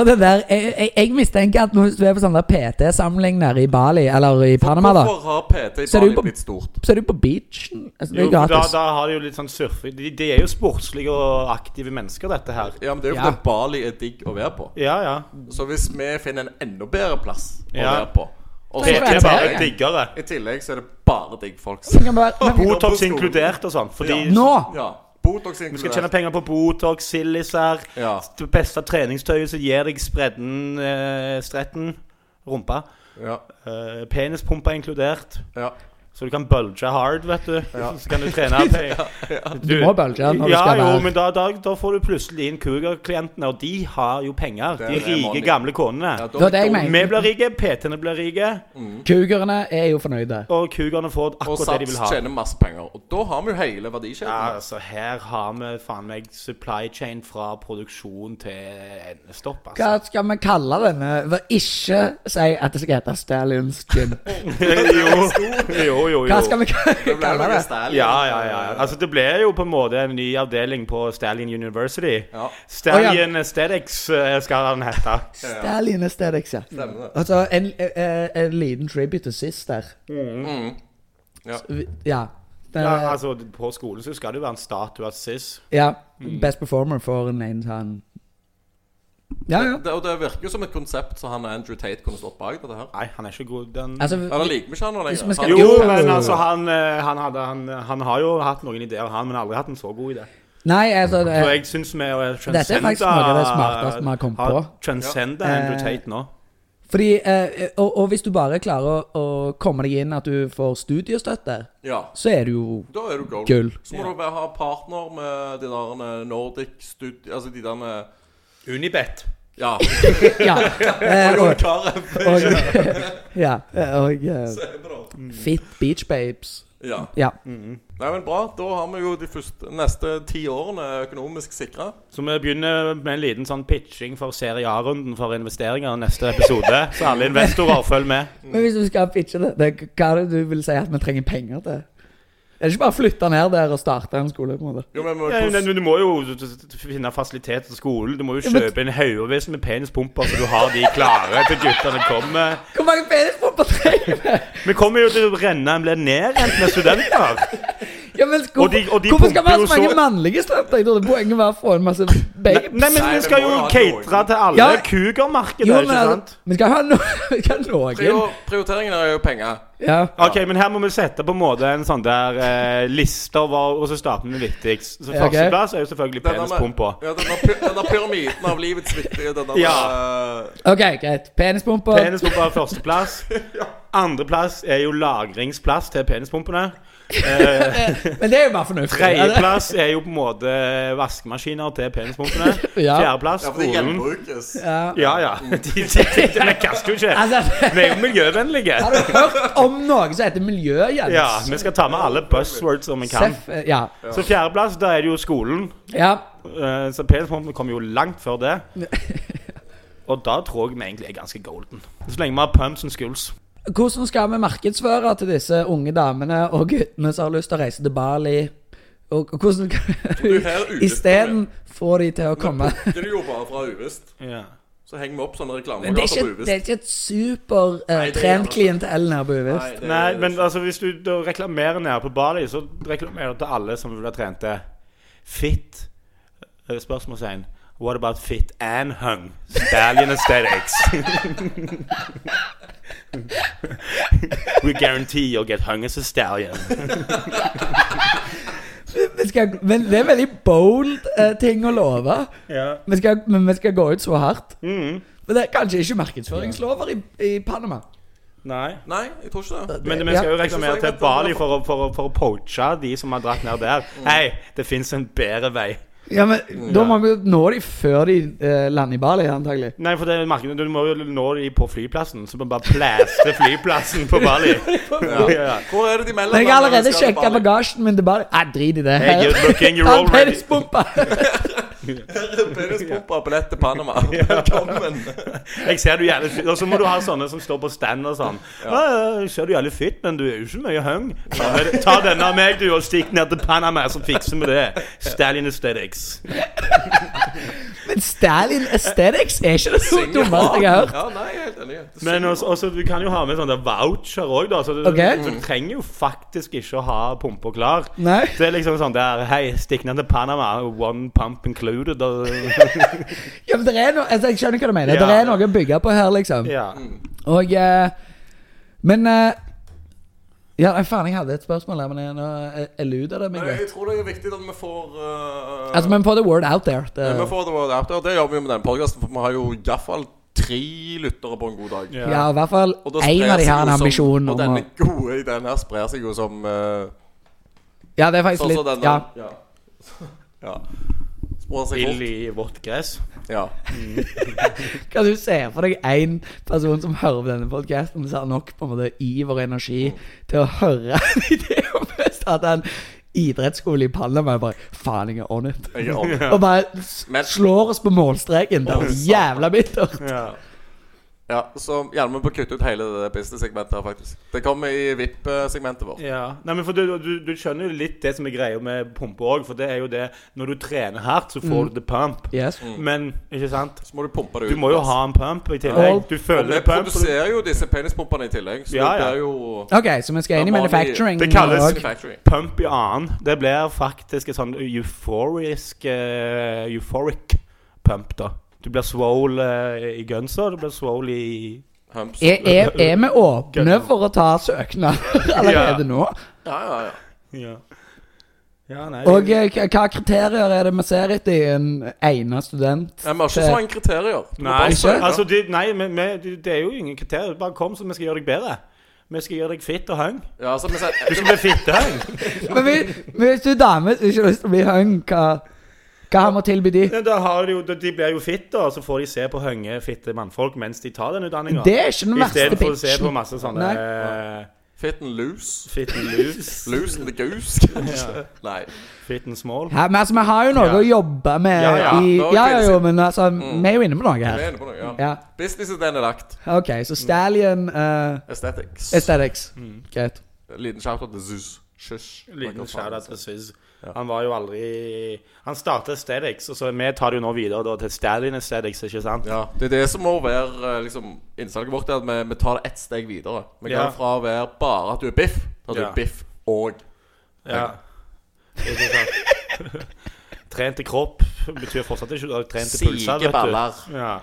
Speaker 3: og det der jeg, jeg, jeg mistenker at hvis du er på sånn sånne PT-samling nede i Bali, eller i Panama, da,
Speaker 2: Hvorfor har PT i
Speaker 3: Så er det jo
Speaker 2: Bali
Speaker 3: på-
Speaker 2: blitt stort?
Speaker 3: så er du på beachen. Altså, det
Speaker 1: Jo,
Speaker 3: er
Speaker 1: for da,
Speaker 3: gratis.
Speaker 1: da har de jo litt sånn surfing De, de er jo sportslige og aktive mennesker, dette her.
Speaker 2: Ja, men Det er jo
Speaker 3: Ja.
Speaker 2: fordi Bali er digg å være på.
Speaker 1: Ja, ja.
Speaker 2: Så hvis vi finner en enda bedre plass å
Speaker 1: Ja.
Speaker 2: være på og
Speaker 1: Det
Speaker 2: så
Speaker 3: Kanskje
Speaker 1: det er bare
Speaker 3: det.
Speaker 1: diggere.
Speaker 2: I tillegg så er det bare diggfolk.
Speaker 3: Det kan være- men-
Speaker 1: Botox inkludert og sånn. Fordi
Speaker 3: Nå!
Speaker 2: Ja. Botox
Speaker 1: vi skal
Speaker 2: inkludert.
Speaker 1: tjene penger på Botox, Silisar,
Speaker 2: Ja.
Speaker 1: det beste treningstøyet som gir deg spredden, eh, stretten, rumpa.
Speaker 2: Ja,
Speaker 1: Eh, penispumpa inkludert.
Speaker 2: ja.
Speaker 1: Så du kan bulge hard, vet du. Så kan du trene
Speaker 3: Du må bulge når du
Speaker 1: ja,
Speaker 3: skal
Speaker 1: jo,
Speaker 3: være
Speaker 1: men da, da, da får du plutselig inn Cougar-klientene, og de har jo penger.
Speaker 2: Det
Speaker 1: De
Speaker 2: er det
Speaker 1: rike,
Speaker 2: money.
Speaker 1: gamle konene.
Speaker 2: Ja, da-
Speaker 3: Det var det jeg
Speaker 2: da-
Speaker 3: mente.
Speaker 1: Vi blir rike, PT-ene blir rike,
Speaker 3: Cougerne er jo fornøyde.
Speaker 1: og Cougerne får
Speaker 2: Og
Speaker 1: akkurat det de
Speaker 2: Sats
Speaker 1: vil ha.
Speaker 2: tjener masse penger. Og da har vi jo hele
Speaker 1: Ja,
Speaker 2: verdikjeden.
Speaker 1: altså Her har vi faen meg supply chain fra produksjon til endestopp.
Speaker 3: Hva
Speaker 1: Altså.
Speaker 3: skal vi kalle denne? For ikke si at det skal hete Stallions Gym.
Speaker 1: jo, jo, jo. jo.
Speaker 3: Hva skal vi
Speaker 2: Det ble
Speaker 3: kalle
Speaker 2: noe
Speaker 3: det?
Speaker 2: Stalin.
Speaker 1: Ja, ja, ja. Altså, det ble jo på en måte en ny avdeling på Stallion University.
Speaker 2: Ja.
Speaker 1: Stallion Aesthetics eh, skal den hete.
Speaker 3: Stallion Aesthetics, ja.
Speaker 2: Stemmer det.
Speaker 3: Altså, en, eh, eh, en liten tribute til sist der.
Speaker 2: Mm. Ja.
Speaker 3: Så vi- Ja. Den,
Speaker 1: Ja, altså, på skolen så skal det jo være en statue av Sis.
Speaker 3: ja. Best performer for en egen sånn Ja, ja.
Speaker 2: Det, og det virker jo som et konsept så han og Andrew Tate kunne stått bak dette her.
Speaker 1: Nei, han er ikke god, den
Speaker 3: Altså,
Speaker 2: Eller liker vi ikke han nå
Speaker 3: Hvis
Speaker 2: lenger?
Speaker 3: vi skal-
Speaker 1: Jo,
Speaker 2: Han-
Speaker 3: Jo.
Speaker 1: men altså, han, eh, han, hadde, han, han har jo hatt noen ideer, han, men aldri hatt en så god idé.
Speaker 3: nei, altså det-
Speaker 1: Så jeg syns vi har
Speaker 3: Dette er faktisk noe av det smarteste vi har kommet på.
Speaker 1: Transcenda
Speaker 3: Ja.
Speaker 1: Andrew
Speaker 3: Eh,
Speaker 1: Tate nå.
Speaker 3: Fordi eh, og, og hvis du bare klarer å, å komme deg inn at du får studiestøtte,
Speaker 2: Ja.
Speaker 3: så er du jo
Speaker 2: Da er du gold.
Speaker 3: Gull.
Speaker 2: Så må du bare ha partner med de der eh, Nordic Stud... Altså de der
Speaker 1: Unibet.
Speaker 2: Ja.
Speaker 3: Ja. Eh, og,
Speaker 2: Karev.
Speaker 3: og, ja, og eh, Fit Beach Babes.
Speaker 2: ja.
Speaker 3: Ja.
Speaker 1: Mm,
Speaker 2: Nei, men bra. Da har vi jo de første, neste ti årene økonomisk sikra.
Speaker 1: Så vi begynner med en liten sånn pitching for Serie A-runden for investeringer i neste episode. Så alle investorer følger med.
Speaker 3: Men hvis du skal pitche det, det hva er det du vil si at vi trenger penger til? Er det ikke bare å flytte ned der og starte en skole? på en måte?
Speaker 2: Jo, men
Speaker 1: Ja,
Speaker 2: hvordan
Speaker 1: men du må jo finne fasiliteter til skolen. Du må jo
Speaker 3: Ja, men-
Speaker 1: kjøpe inn haugevis med penispumper, så du har de klare til guttene kommer.
Speaker 3: Hvor mange penispumper trenger vi?
Speaker 1: Vi kommer jo til å renne en blir nedrent med studenter.
Speaker 3: Ja, men hvor,
Speaker 1: Og de- og de
Speaker 3: hvorfor skal vi ha
Speaker 1: pumper
Speaker 3: så
Speaker 1: jo
Speaker 3: mange
Speaker 1: så-
Speaker 3: mannlige studenter? Jeg trodde poenget var å få en masse babes.
Speaker 1: Nei, men
Speaker 2: Nei,
Speaker 1: vi
Speaker 2: det
Speaker 1: skal
Speaker 2: må
Speaker 1: jo
Speaker 2: jo ha
Speaker 1: catere
Speaker 2: noen.
Speaker 1: til alle
Speaker 3: Ja.
Speaker 1: kugermarkedet,
Speaker 3: jo, men,
Speaker 1: ikke sant?
Speaker 3: altså, vi skal ha noen. Vi skal ha noen.
Speaker 2: Prior- Prioriteringen er jo penger.
Speaker 3: Ja.
Speaker 1: Ok, men her må vi sette på en måte en sånn der eh, liste over Og så starter vi viktigst. Så
Speaker 3: Ja, ok.
Speaker 1: førsteplass er jo selvfølgelig
Speaker 2: Den der med-
Speaker 1: penispumpa.
Speaker 2: Ja, den der py- den der pyramiden av livets viktige den der,
Speaker 1: Ja.
Speaker 2: eh,
Speaker 3: OK, greit. Penispumper.
Speaker 1: Penispumpa er førsteplass. Andreplass er jo lagringsplass til penispumpene. Eh,
Speaker 3: men det er jo bare fornuftig.
Speaker 1: Tredjeplass er jo på en måte vaskemaskiner til penispumpene.
Speaker 3: Ja.
Speaker 1: Fjerdeplass
Speaker 2: Ja, for det
Speaker 1: skolen.
Speaker 2: gjenbrukes.
Speaker 3: Ja.
Speaker 1: Ja, ja. De- de- de- Vi kaster jo ikke.
Speaker 3: Altså,
Speaker 1: Vi er jo miljøvennlige.
Speaker 3: har du hørt om noe som heter miljø, Jens?
Speaker 1: Ja, Vi skal ta med alle buzzwords som vi kan.
Speaker 3: Seff, eh, ja.
Speaker 1: Så fjerdeplass, da er det jo skolen.
Speaker 3: ja.
Speaker 1: Eh, Så penispumpen kom jo langt før det. Og da tror jeg vi egentlig er ganske golden. Så lenge vi har pumps and schools.
Speaker 3: Hvordan skal vi markedsføre til disse unge damene og guttene som har lyst til å reise til Bali? Og hvordan
Speaker 2: Du er her
Speaker 3: kan
Speaker 2: ute,
Speaker 3: Isteden få de til å komme
Speaker 2: Det er jo bare fra uvisst.
Speaker 1: Ja.
Speaker 2: Så henger vi opp sånne
Speaker 3: Men det er
Speaker 2: reklameplakater på
Speaker 3: ikke, det
Speaker 2: uvisst.
Speaker 3: er ikke et supertrent
Speaker 2: det er-
Speaker 3: klientell her på Uvisst.
Speaker 2: det er-
Speaker 1: Nei, men altså hvis du da reklamerer nede på Bali, så reklamerer du til alle som vil ha trente. Fit eh, Spørsmålstegn. What about fit and hung? Stallion aesthetics. We guarantee you'll get hung as a stallion.
Speaker 3: Vi skal- Men det er veldig bold eh, ting å love.
Speaker 1: Ja.
Speaker 3: Vi skal, men vi skal gå ut så hardt.
Speaker 1: Mm.
Speaker 3: Men det er kanskje ikke markedsføringslover i, i Panama.
Speaker 1: Nei.
Speaker 2: Nei, jeg tror ikke det.
Speaker 1: Men vi skal jo reklamere til
Speaker 2: Jeg synes jeg vet
Speaker 1: Bali
Speaker 2: det.
Speaker 1: for å, for, å, for å poache de som har dratt ned der.
Speaker 2: Mm.
Speaker 1: Hei, det fins en bedre vei.
Speaker 3: Ja, men Da må vi jo nå de før de eh, lander i Bali, antagelig.
Speaker 1: Nei, for det er markedet, du må jo nå de på flyplassen, så må vi bare plastre flyplassen på Bali. Ja.
Speaker 2: Hvor er det de melder
Speaker 3: Men jeg har
Speaker 2: når vi
Speaker 3: allerede
Speaker 2: skal til
Speaker 3: sjekka
Speaker 2: Bali?
Speaker 3: bagasjen min til Bali. Nei, drit i det.
Speaker 1: Hey, good looking, you're
Speaker 3: Ta en
Speaker 1: already-
Speaker 3: penispumpe.
Speaker 2: Penispumpa og billett til Panama. Velkommen.
Speaker 1: Jeg ser du jævlig fit Og så må du ha sånne som står på stand og sånn. Ja. jeg ser du jævlig fit, men du er jo ikke mye hung. Ta, med- ta denne av meg, du, og stikk ned til Panama, så fikser vi det. Stalin Aesthetics.
Speaker 3: Men Stalin Aesthetics er ikke det
Speaker 2: Synger
Speaker 3: dummeste jeg har hørt.
Speaker 2: Ja, nei, jeg er helt enig. Det
Speaker 1: Men
Speaker 2: synger
Speaker 1: også, også, du kan jo ha med sånne voucher òg, da. Så du,
Speaker 3: Ok.
Speaker 1: du trenger jo faktisk ikke å ha pumpa klar.
Speaker 3: Nei.
Speaker 1: Det er liksom sånn der Hei, stikk ned til Panama. One pump included. Og,
Speaker 3: Ja, men det er noe, altså, jeg skjønner hva du mener.
Speaker 1: Ja.
Speaker 3: Det er noe å bygge på her, liksom.
Speaker 1: ja.
Speaker 3: Og eh, Men eh, Ja, nei, faen, jeg hadde et spørsmål her, men jeg, nå jeg- jeg luder det meg
Speaker 2: Men
Speaker 3: litt.
Speaker 2: jeg tror det er viktig at vi får eh,
Speaker 3: Altså, men få the word out there. Det,
Speaker 2: Vi får det word out there. Det gjør vi jo med denne podkasten, for vi har jo iallfall tre lyttere på en god dag.
Speaker 1: Ja.
Speaker 3: ja, i hvert fall
Speaker 2: Og da
Speaker 3: én
Speaker 2: sprer
Speaker 3: av de
Speaker 2: seg
Speaker 3: har en
Speaker 2: jo som-
Speaker 3: ambisjon om
Speaker 2: Og
Speaker 3: å
Speaker 2: denne gode ideen her sprer seg jo som eh,
Speaker 3: Ja, det er faktisk
Speaker 2: Sånn som
Speaker 3: litt
Speaker 2: denne.
Speaker 3: Ja.
Speaker 2: ja. ja. Sprer seg
Speaker 1: Ild
Speaker 2: fort.
Speaker 1: i vårt gress.
Speaker 2: Ja.
Speaker 3: Kan du se for deg én person som hører på denne podkasten, som har nok på en måte iver og energi til å høre en idé om først at han idrettsskole i Panama bare Faen, jeg er on it.
Speaker 2: Jeg er ordentlig.
Speaker 3: Og bare s-
Speaker 2: Men-
Speaker 3: slår oss på målstreken. Det er jævla bittert.
Speaker 1: Ja.
Speaker 2: Ja, så gjerne vi bør kutte ut hele det business-segmentet her, faktisk. Det kommer i VIP-segmentet vårt.
Speaker 1: ja. Nei, men for du, du, du skjønner jo litt det som er greia med pumpe òg, for det er jo det Når du trener hardt, så får du the pump.
Speaker 3: Yes.
Speaker 1: Men ikke sant?
Speaker 2: Så må du pumpe det ut.
Speaker 1: Du må jo
Speaker 2: plass.
Speaker 1: ha en pump i tillegg. Du
Speaker 2: Og
Speaker 1: føler
Speaker 2: Vi
Speaker 1: det pump. og du-
Speaker 2: produserer jo disse penispumpene i tillegg, så
Speaker 1: Ja,
Speaker 2: det
Speaker 1: ja.
Speaker 2: er jo
Speaker 3: Ok, så vi skal inn i
Speaker 2: Det er vanlig-
Speaker 3: manufacturing.
Speaker 1: Det kalles-
Speaker 3: og-
Speaker 2: Factory.
Speaker 1: Pump i annen. Det blir faktisk et sånn euphorisk eh, Euphoric pump, da. Du blir swole eh, i gunsa, du blir swole i
Speaker 2: Humps.
Speaker 3: er, er, er vi åpne for å ta søknad allerede nå?
Speaker 2: Ja, ja, ja.
Speaker 1: Ja. Ja, nei
Speaker 3: Og eh, hva hva kriterier er det vi ser etter i en egnet student?
Speaker 2: Nei, Vi har ikke så mange kriterier. Du må
Speaker 1: Nei,
Speaker 2: bare
Speaker 1: ikke?
Speaker 2: søke.
Speaker 1: Altså, de, nei men, men, de- det er jo ingen kriterier. Bare kom, så vi skal gjøre deg bedre. Vi skal gjøre deg fitt og hung.
Speaker 2: ja, altså, men, så-
Speaker 1: Du skal bli fittehung.
Speaker 3: Men vi- men hvis du er dame som ikke har lyst til å bli hung, hva, hva har vi å tilby de?
Speaker 1: Da har de, jo, de blir jo fitt, da, og så får de se på hunge, fitte mannfolk mens de tar den utdanninga.
Speaker 3: Det er ikke den verste
Speaker 1: Istedenfor å se på
Speaker 3: pitchen.
Speaker 1: masse sånne
Speaker 3: Nei.
Speaker 1: eh,
Speaker 2: Fitten loose.
Speaker 1: fitten loose,
Speaker 2: Loosen the goose, kanskje. Nei.
Speaker 1: fitten small.
Speaker 3: Hæ, men altså, vi har jo noe
Speaker 1: Ja.
Speaker 3: å jobbe med
Speaker 1: Ja, ja. Mm.
Speaker 3: i
Speaker 2: Det var
Speaker 3: Ja, ja,
Speaker 2: kvinnesyn.
Speaker 3: jo, men altså, vi er jo inne på noe
Speaker 2: Vi
Speaker 3: her.
Speaker 2: er inne på noe, ja.
Speaker 3: Ja,
Speaker 2: Businessideen er lagt.
Speaker 3: OK, så
Speaker 1: Mm.
Speaker 3: Stallion eh,
Speaker 2: Aesthetics.
Speaker 3: Aesthetics. Greit.
Speaker 2: Liten shout-out til Zeus. Shush.
Speaker 1: Liten shout-out til Sys.
Speaker 2: Ja.
Speaker 1: Han var jo aldri Han startet Stedix, og så vi tar det jo nå videre da, til Stalin Stedix, ikke sant?
Speaker 2: Ja, det er det som må være eh, liksom, innsalget vårt, er at vi, vi tar det ett steg videre. Vi
Speaker 1: Ja.
Speaker 2: går fra å være bare at du er biff, til at du
Speaker 1: Ja.
Speaker 2: er biff og
Speaker 1: Ja. Ikke sant? Trente kropp betyr fortsatt ikke at trente pulser,
Speaker 2: sige baller.
Speaker 1: Ja.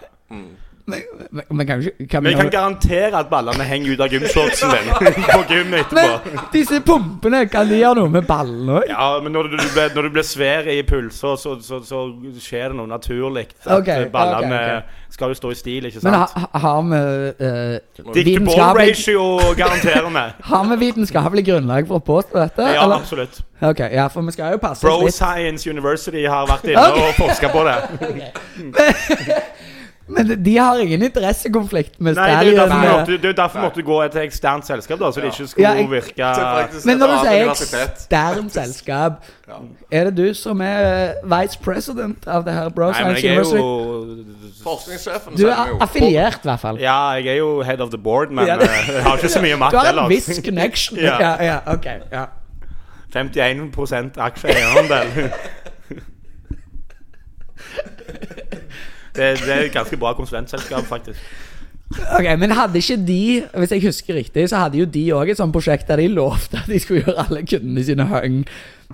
Speaker 3: Men, men, men kan vi ikke kan vi
Speaker 1: Men jeg kan garantere at ballene henger ut av gymshortsen din på gym etterpå.
Speaker 3: Men disse pumpene, kan de gjøre noe med ballene òg?
Speaker 1: Ja, men når du, du blir, når du blir svær i pulser, så, så, så skjer det noe naturlig. At
Speaker 3: Ok, ok,
Speaker 1: ballene
Speaker 3: ok.
Speaker 1: skal jo stå i stil, ikke
Speaker 3: Men
Speaker 1: sant?
Speaker 3: ha- ha- har vi eh, vitenskapelig,
Speaker 1: Dick-to-ball-ratio garanterer vi.
Speaker 3: har vi vitenskapelig grunnlag for å påstå dette?
Speaker 1: Ja,
Speaker 3: eller?
Speaker 1: absolutt.
Speaker 3: Ok, ja, for vi skal jo passe
Speaker 1: Bro
Speaker 3: oss litt.
Speaker 1: Science University har vært inne
Speaker 3: Ok.
Speaker 1: og forska på det.
Speaker 3: Men de har ingen interessekonflikt med
Speaker 1: Nei, Det er jo derfor, vi
Speaker 3: Stallion.
Speaker 1: måtte, det er jo derfor vi måtte gå til eksternt selskap, da, så det
Speaker 2: Ja.
Speaker 1: ikke skulle
Speaker 3: Ja, jeg-
Speaker 1: virke
Speaker 2: Så faktisk
Speaker 3: Men
Speaker 2: et
Speaker 3: når du
Speaker 2: annet
Speaker 3: sier
Speaker 2: universitet.
Speaker 3: eksternt selskap,
Speaker 2: Ja.
Speaker 3: er det du som er eh, vice president av det her, Bro
Speaker 1: Nei, men
Speaker 3: Science
Speaker 1: jeg er sånn jo
Speaker 3: University?
Speaker 2: Forskningssjefen
Speaker 3: Du
Speaker 2: sier vi
Speaker 3: er
Speaker 2: jo.
Speaker 3: affiliert, i hvert fall.
Speaker 1: Ja, jeg er jo head of the board, men
Speaker 3: Ja,
Speaker 1: eh,
Speaker 3: det-
Speaker 1: jeg har ikke så mye
Speaker 3: Du
Speaker 1: makt
Speaker 3: har en
Speaker 1: ellers.
Speaker 3: viss connection.
Speaker 1: Ja.
Speaker 3: Ja, ja, ok. Ja.
Speaker 1: 51 aksjeeierandel. Det, det er et ganske bra konsulentselskap, faktisk.
Speaker 3: Ok, Men hadde ikke de, hvis jeg husker riktig, så hadde jo de òg et sånt prosjekt der de lovte at de skulle gjøre alle kundene sine hung,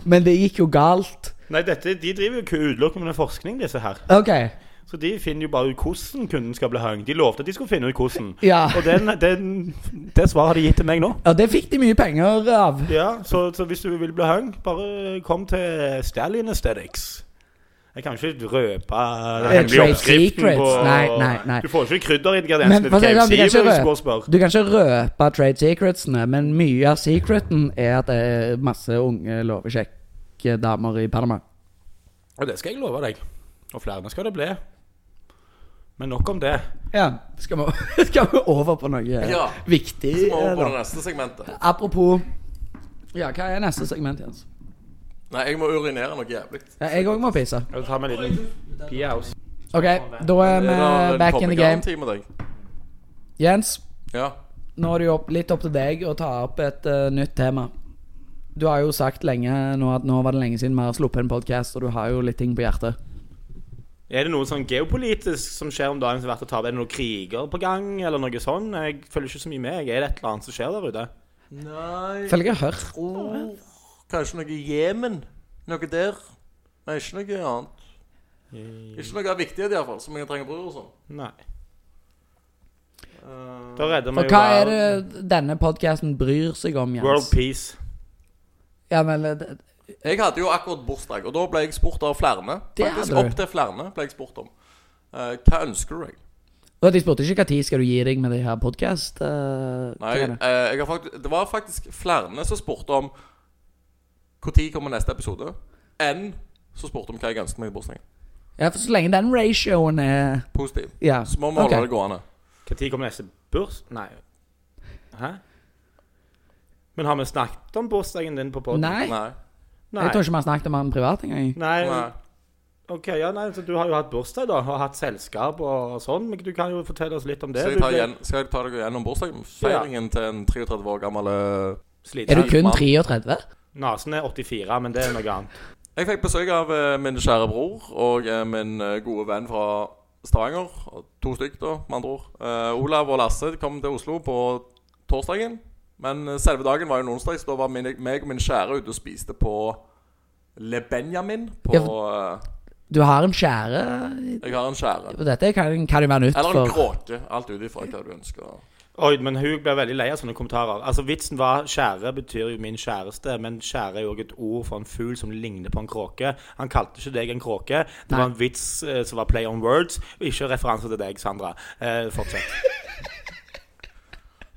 Speaker 3: men det gikk jo galt.
Speaker 1: Nei, dette, De driver jo ikke utelukkende med forskning, disse her.
Speaker 3: Ok,
Speaker 1: Så de finner jo bare ut hvordan kunden skal bli hung. De lovte at de skulle finne ut hvordan.
Speaker 3: ja.
Speaker 1: Og den, den, det svaret har de gitt til meg nå.
Speaker 3: Og det fikk de mye penger av.
Speaker 1: Ja, så, så hvis du vil bli hung, bare kom til Stallion Aesthetics. Jeg kan ikke røpe den hemmelige
Speaker 3: trade
Speaker 1: oppskriften
Speaker 3: secrets.
Speaker 1: på
Speaker 3: Nei, nei, nei.
Speaker 1: Du får ikke
Speaker 3: Men
Speaker 1: krydderingrediensene
Speaker 3: for å
Speaker 1: til
Speaker 3: si det sånn,
Speaker 1: KFC
Speaker 3: du kan ikke
Speaker 1: hvis du
Speaker 3: røpe-
Speaker 1: går og spør.
Speaker 3: Du kan ikke røpe trade secretsene, men mye av secreten er at det er masse unge lovekjekke damer i Panama.
Speaker 1: Og det skal jeg love deg. Og flere skal det bli. Men nok om det.
Speaker 3: Ja, skal vi, skal vi over på noe eh,
Speaker 2: Ja.
Speaker 3: viktig?
Speaker 2: Så må vi over
Speaker 3: eh,
Speaker 2: på
Speaker 3: da?
Speaker 2: det neste segmentet.
Speaker 3: Apropos Ja, hva er neste segment, Jens?
Speaker 2: Nei, jeg må urinere noe jævlig.
Speaker 3: Ja, jeg òg må pisse.
Speaker 1: Jeg tar meg en liten pia-house.
Speaker 3: OK, da er vi back in the game.
Speaker 2: Time, deg.
Speaker 3: Jens,
Speaker 2: Ja.
Speaker 3: nå er det jo opp, litt opp til deg å ta opp et eh, nytt tema. Du har jo sagt lenge nå at nå var det lenge siden vi har sluppet en podkast, og du har jo litt ting på hjertet.
Speaker 1: Er det noe sånn geopolitisk som skjer om dagen som er verdt å ta opp? Er det noen kriger på gang, eller noe sånn? Jeg følger ikke så mye med. Er det et eller annet som skjer der ute?
Speaker 2: Nei
Speaker 3: Føler jeg har hørt.
Speaker 2: oh, Kanskje noe Jemen? Noe der? Nei, ikke noe annet. Ikke noe viktig i hvert fall, som jeg trenger bryr meg om.
Speaker 1: Nei.
Speaker 2: Eh,
Speaker 1: Da redder vi
Speaker 3: Og hva er det denne podkasten bryr seg om,
Speaker 1: World
Speaker 3: Jens?
Speaker 1: Peace.
Speaker 3: Ja, men eh, det-
Speaker 2: Jeg hadde jo akkurat bursdag, og da ble jeg spurt av flere.
Speaker 3: Det hadde
Speaker 2: Faktisk
Speaker 3: du.
Speaker 2: opp til flere ble jeg spurt om. Eh, hva ønsker du deg?
Speaker 3: Og de spurte ikke når skal du gi deg med de her podkast... Uh,
Speaker 2: Nei, eh, jeg har faktisk, det var faktisk flere som spurte om når kommer neste episode, enn som spurte om hva jeg ønsket meg i bursdagen.
Speaker 3: ja, for så lenge den ratioen er
Speaker 2: Positiv.
Speaker 3: Ja.
Speaker 2: Så må vi holde
Speaker 3: ok.
Speaker 2: det gående.
Speaker 1: Når kommer neste burs? Nei. Hæ? Men har vi snakket om bursdagen din på podden?
Speaker 3: Nei,
Speaker 2: Nei.
Speaker 1: Nei.
Speaker 3: jeg tror ikke vi har snakket om han privat engang.
Speaker 1: Nei.
Speaker 2: Nei.
Speaker 1: Ok, ja, nei, så Du har jo hatt bursdag, da, og hatt selskap og sånn. Men du kan jo fortelle oss litt om det.
Speaker 2: Skal
Speaker 1: Du
Speaker 2: jeg ta,
Speaker 1: ble
Speaker 2: igjen, skal jeg ta deg gjennom bursdagsfeiringen til en 33 år gammel eh,
Speaker 3: Er
Speaker 1: sliten.
Speaker 3: du kun
Speaker 2: mann.
Speaker 3: 33?
Speaker 1: Nasen er 84, men det er noe annet.
Speaker 2: Jeg fikk besøk av eh, min kjære bror og eh, min eh, gode venn fra Stavanger. og To stykk, da, med andre ord. Eh, Olav og Lasse kom til Oslo på torsdagen. Men eh, selve dagen var jo en onsdag, så da var min, meg og min kjære ute og spiste på Le Benjamin. På,
Speaker 3: Ja, Du har en kjære
Speaker 2: eh, jeg har en kjære.
Speaker 3: Og Dette kan, kan jo være nytt
Speaker 2: Eller en
Speaker 3: for
Speaker 2: kråke. Alt ut ifra hva du ønsker.
Speaker 1: Oi, men hun blir veldig lei av sånne kommentarer. Altså, Vitsen var 'kjære' betyr jo 'min kjæreste', men 'kjære' er jo også et ord for en fugl som ligner på en kråke. Han kalte ikke deg en kråke. Det
Speaker 3: Nei.
Speaker 1: var en vits eh, som var play on words, og ikke referanse til deg, Sandra. Eh, fortsett.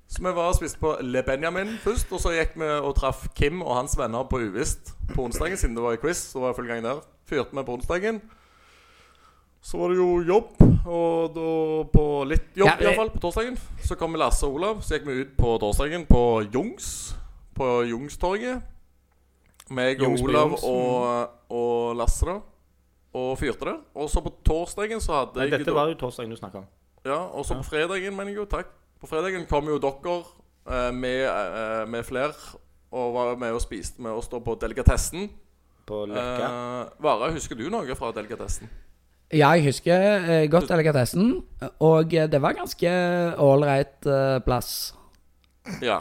Speaker 2: Så vi var og spiste på Le Benjamin først, og så gikk vi og traff Kim og hans venner på Uvisst på onsdagen, siden det var i quiz. Så var jeg full gang der. Fyrte vi på onsdagen. Så var det jo jobb, og da på litt jobb
Speaker 3: Ja,
Speaker 2: i hvert fall på torsdagen. Så kom Lasse og Olav, så gikk vi ut på torsdagen på Jungs. På Jungstorget. Meg og
Speaker 1: Jungs på
Speaker 2: Olav
Speaker 1: Jungs, mm.
Speaker 2: og, og Lasse, da. Og fyrte det. Og så på torsdagen så hadde
Speaker 1: Nei,
Speaker 2: jeg
Speaker 1: dette var jo torsdagen du snakka om.
Speaker 2: ja, og så på fredagen, mener jeg jo. Takk. På fredagen kom jo dere eh, med, eh, med flere og var med og spiste med oss da på delikatessen.
Speaker 1: På Løkka.
Speaker 2: Eh, Vara, husker du noe fra delikatessen?
Speaker 3: Ja, jeg husker eh, godt delikatessen, og eh, det var ganske ålreit eh, plass.
Speaker 2: Ja.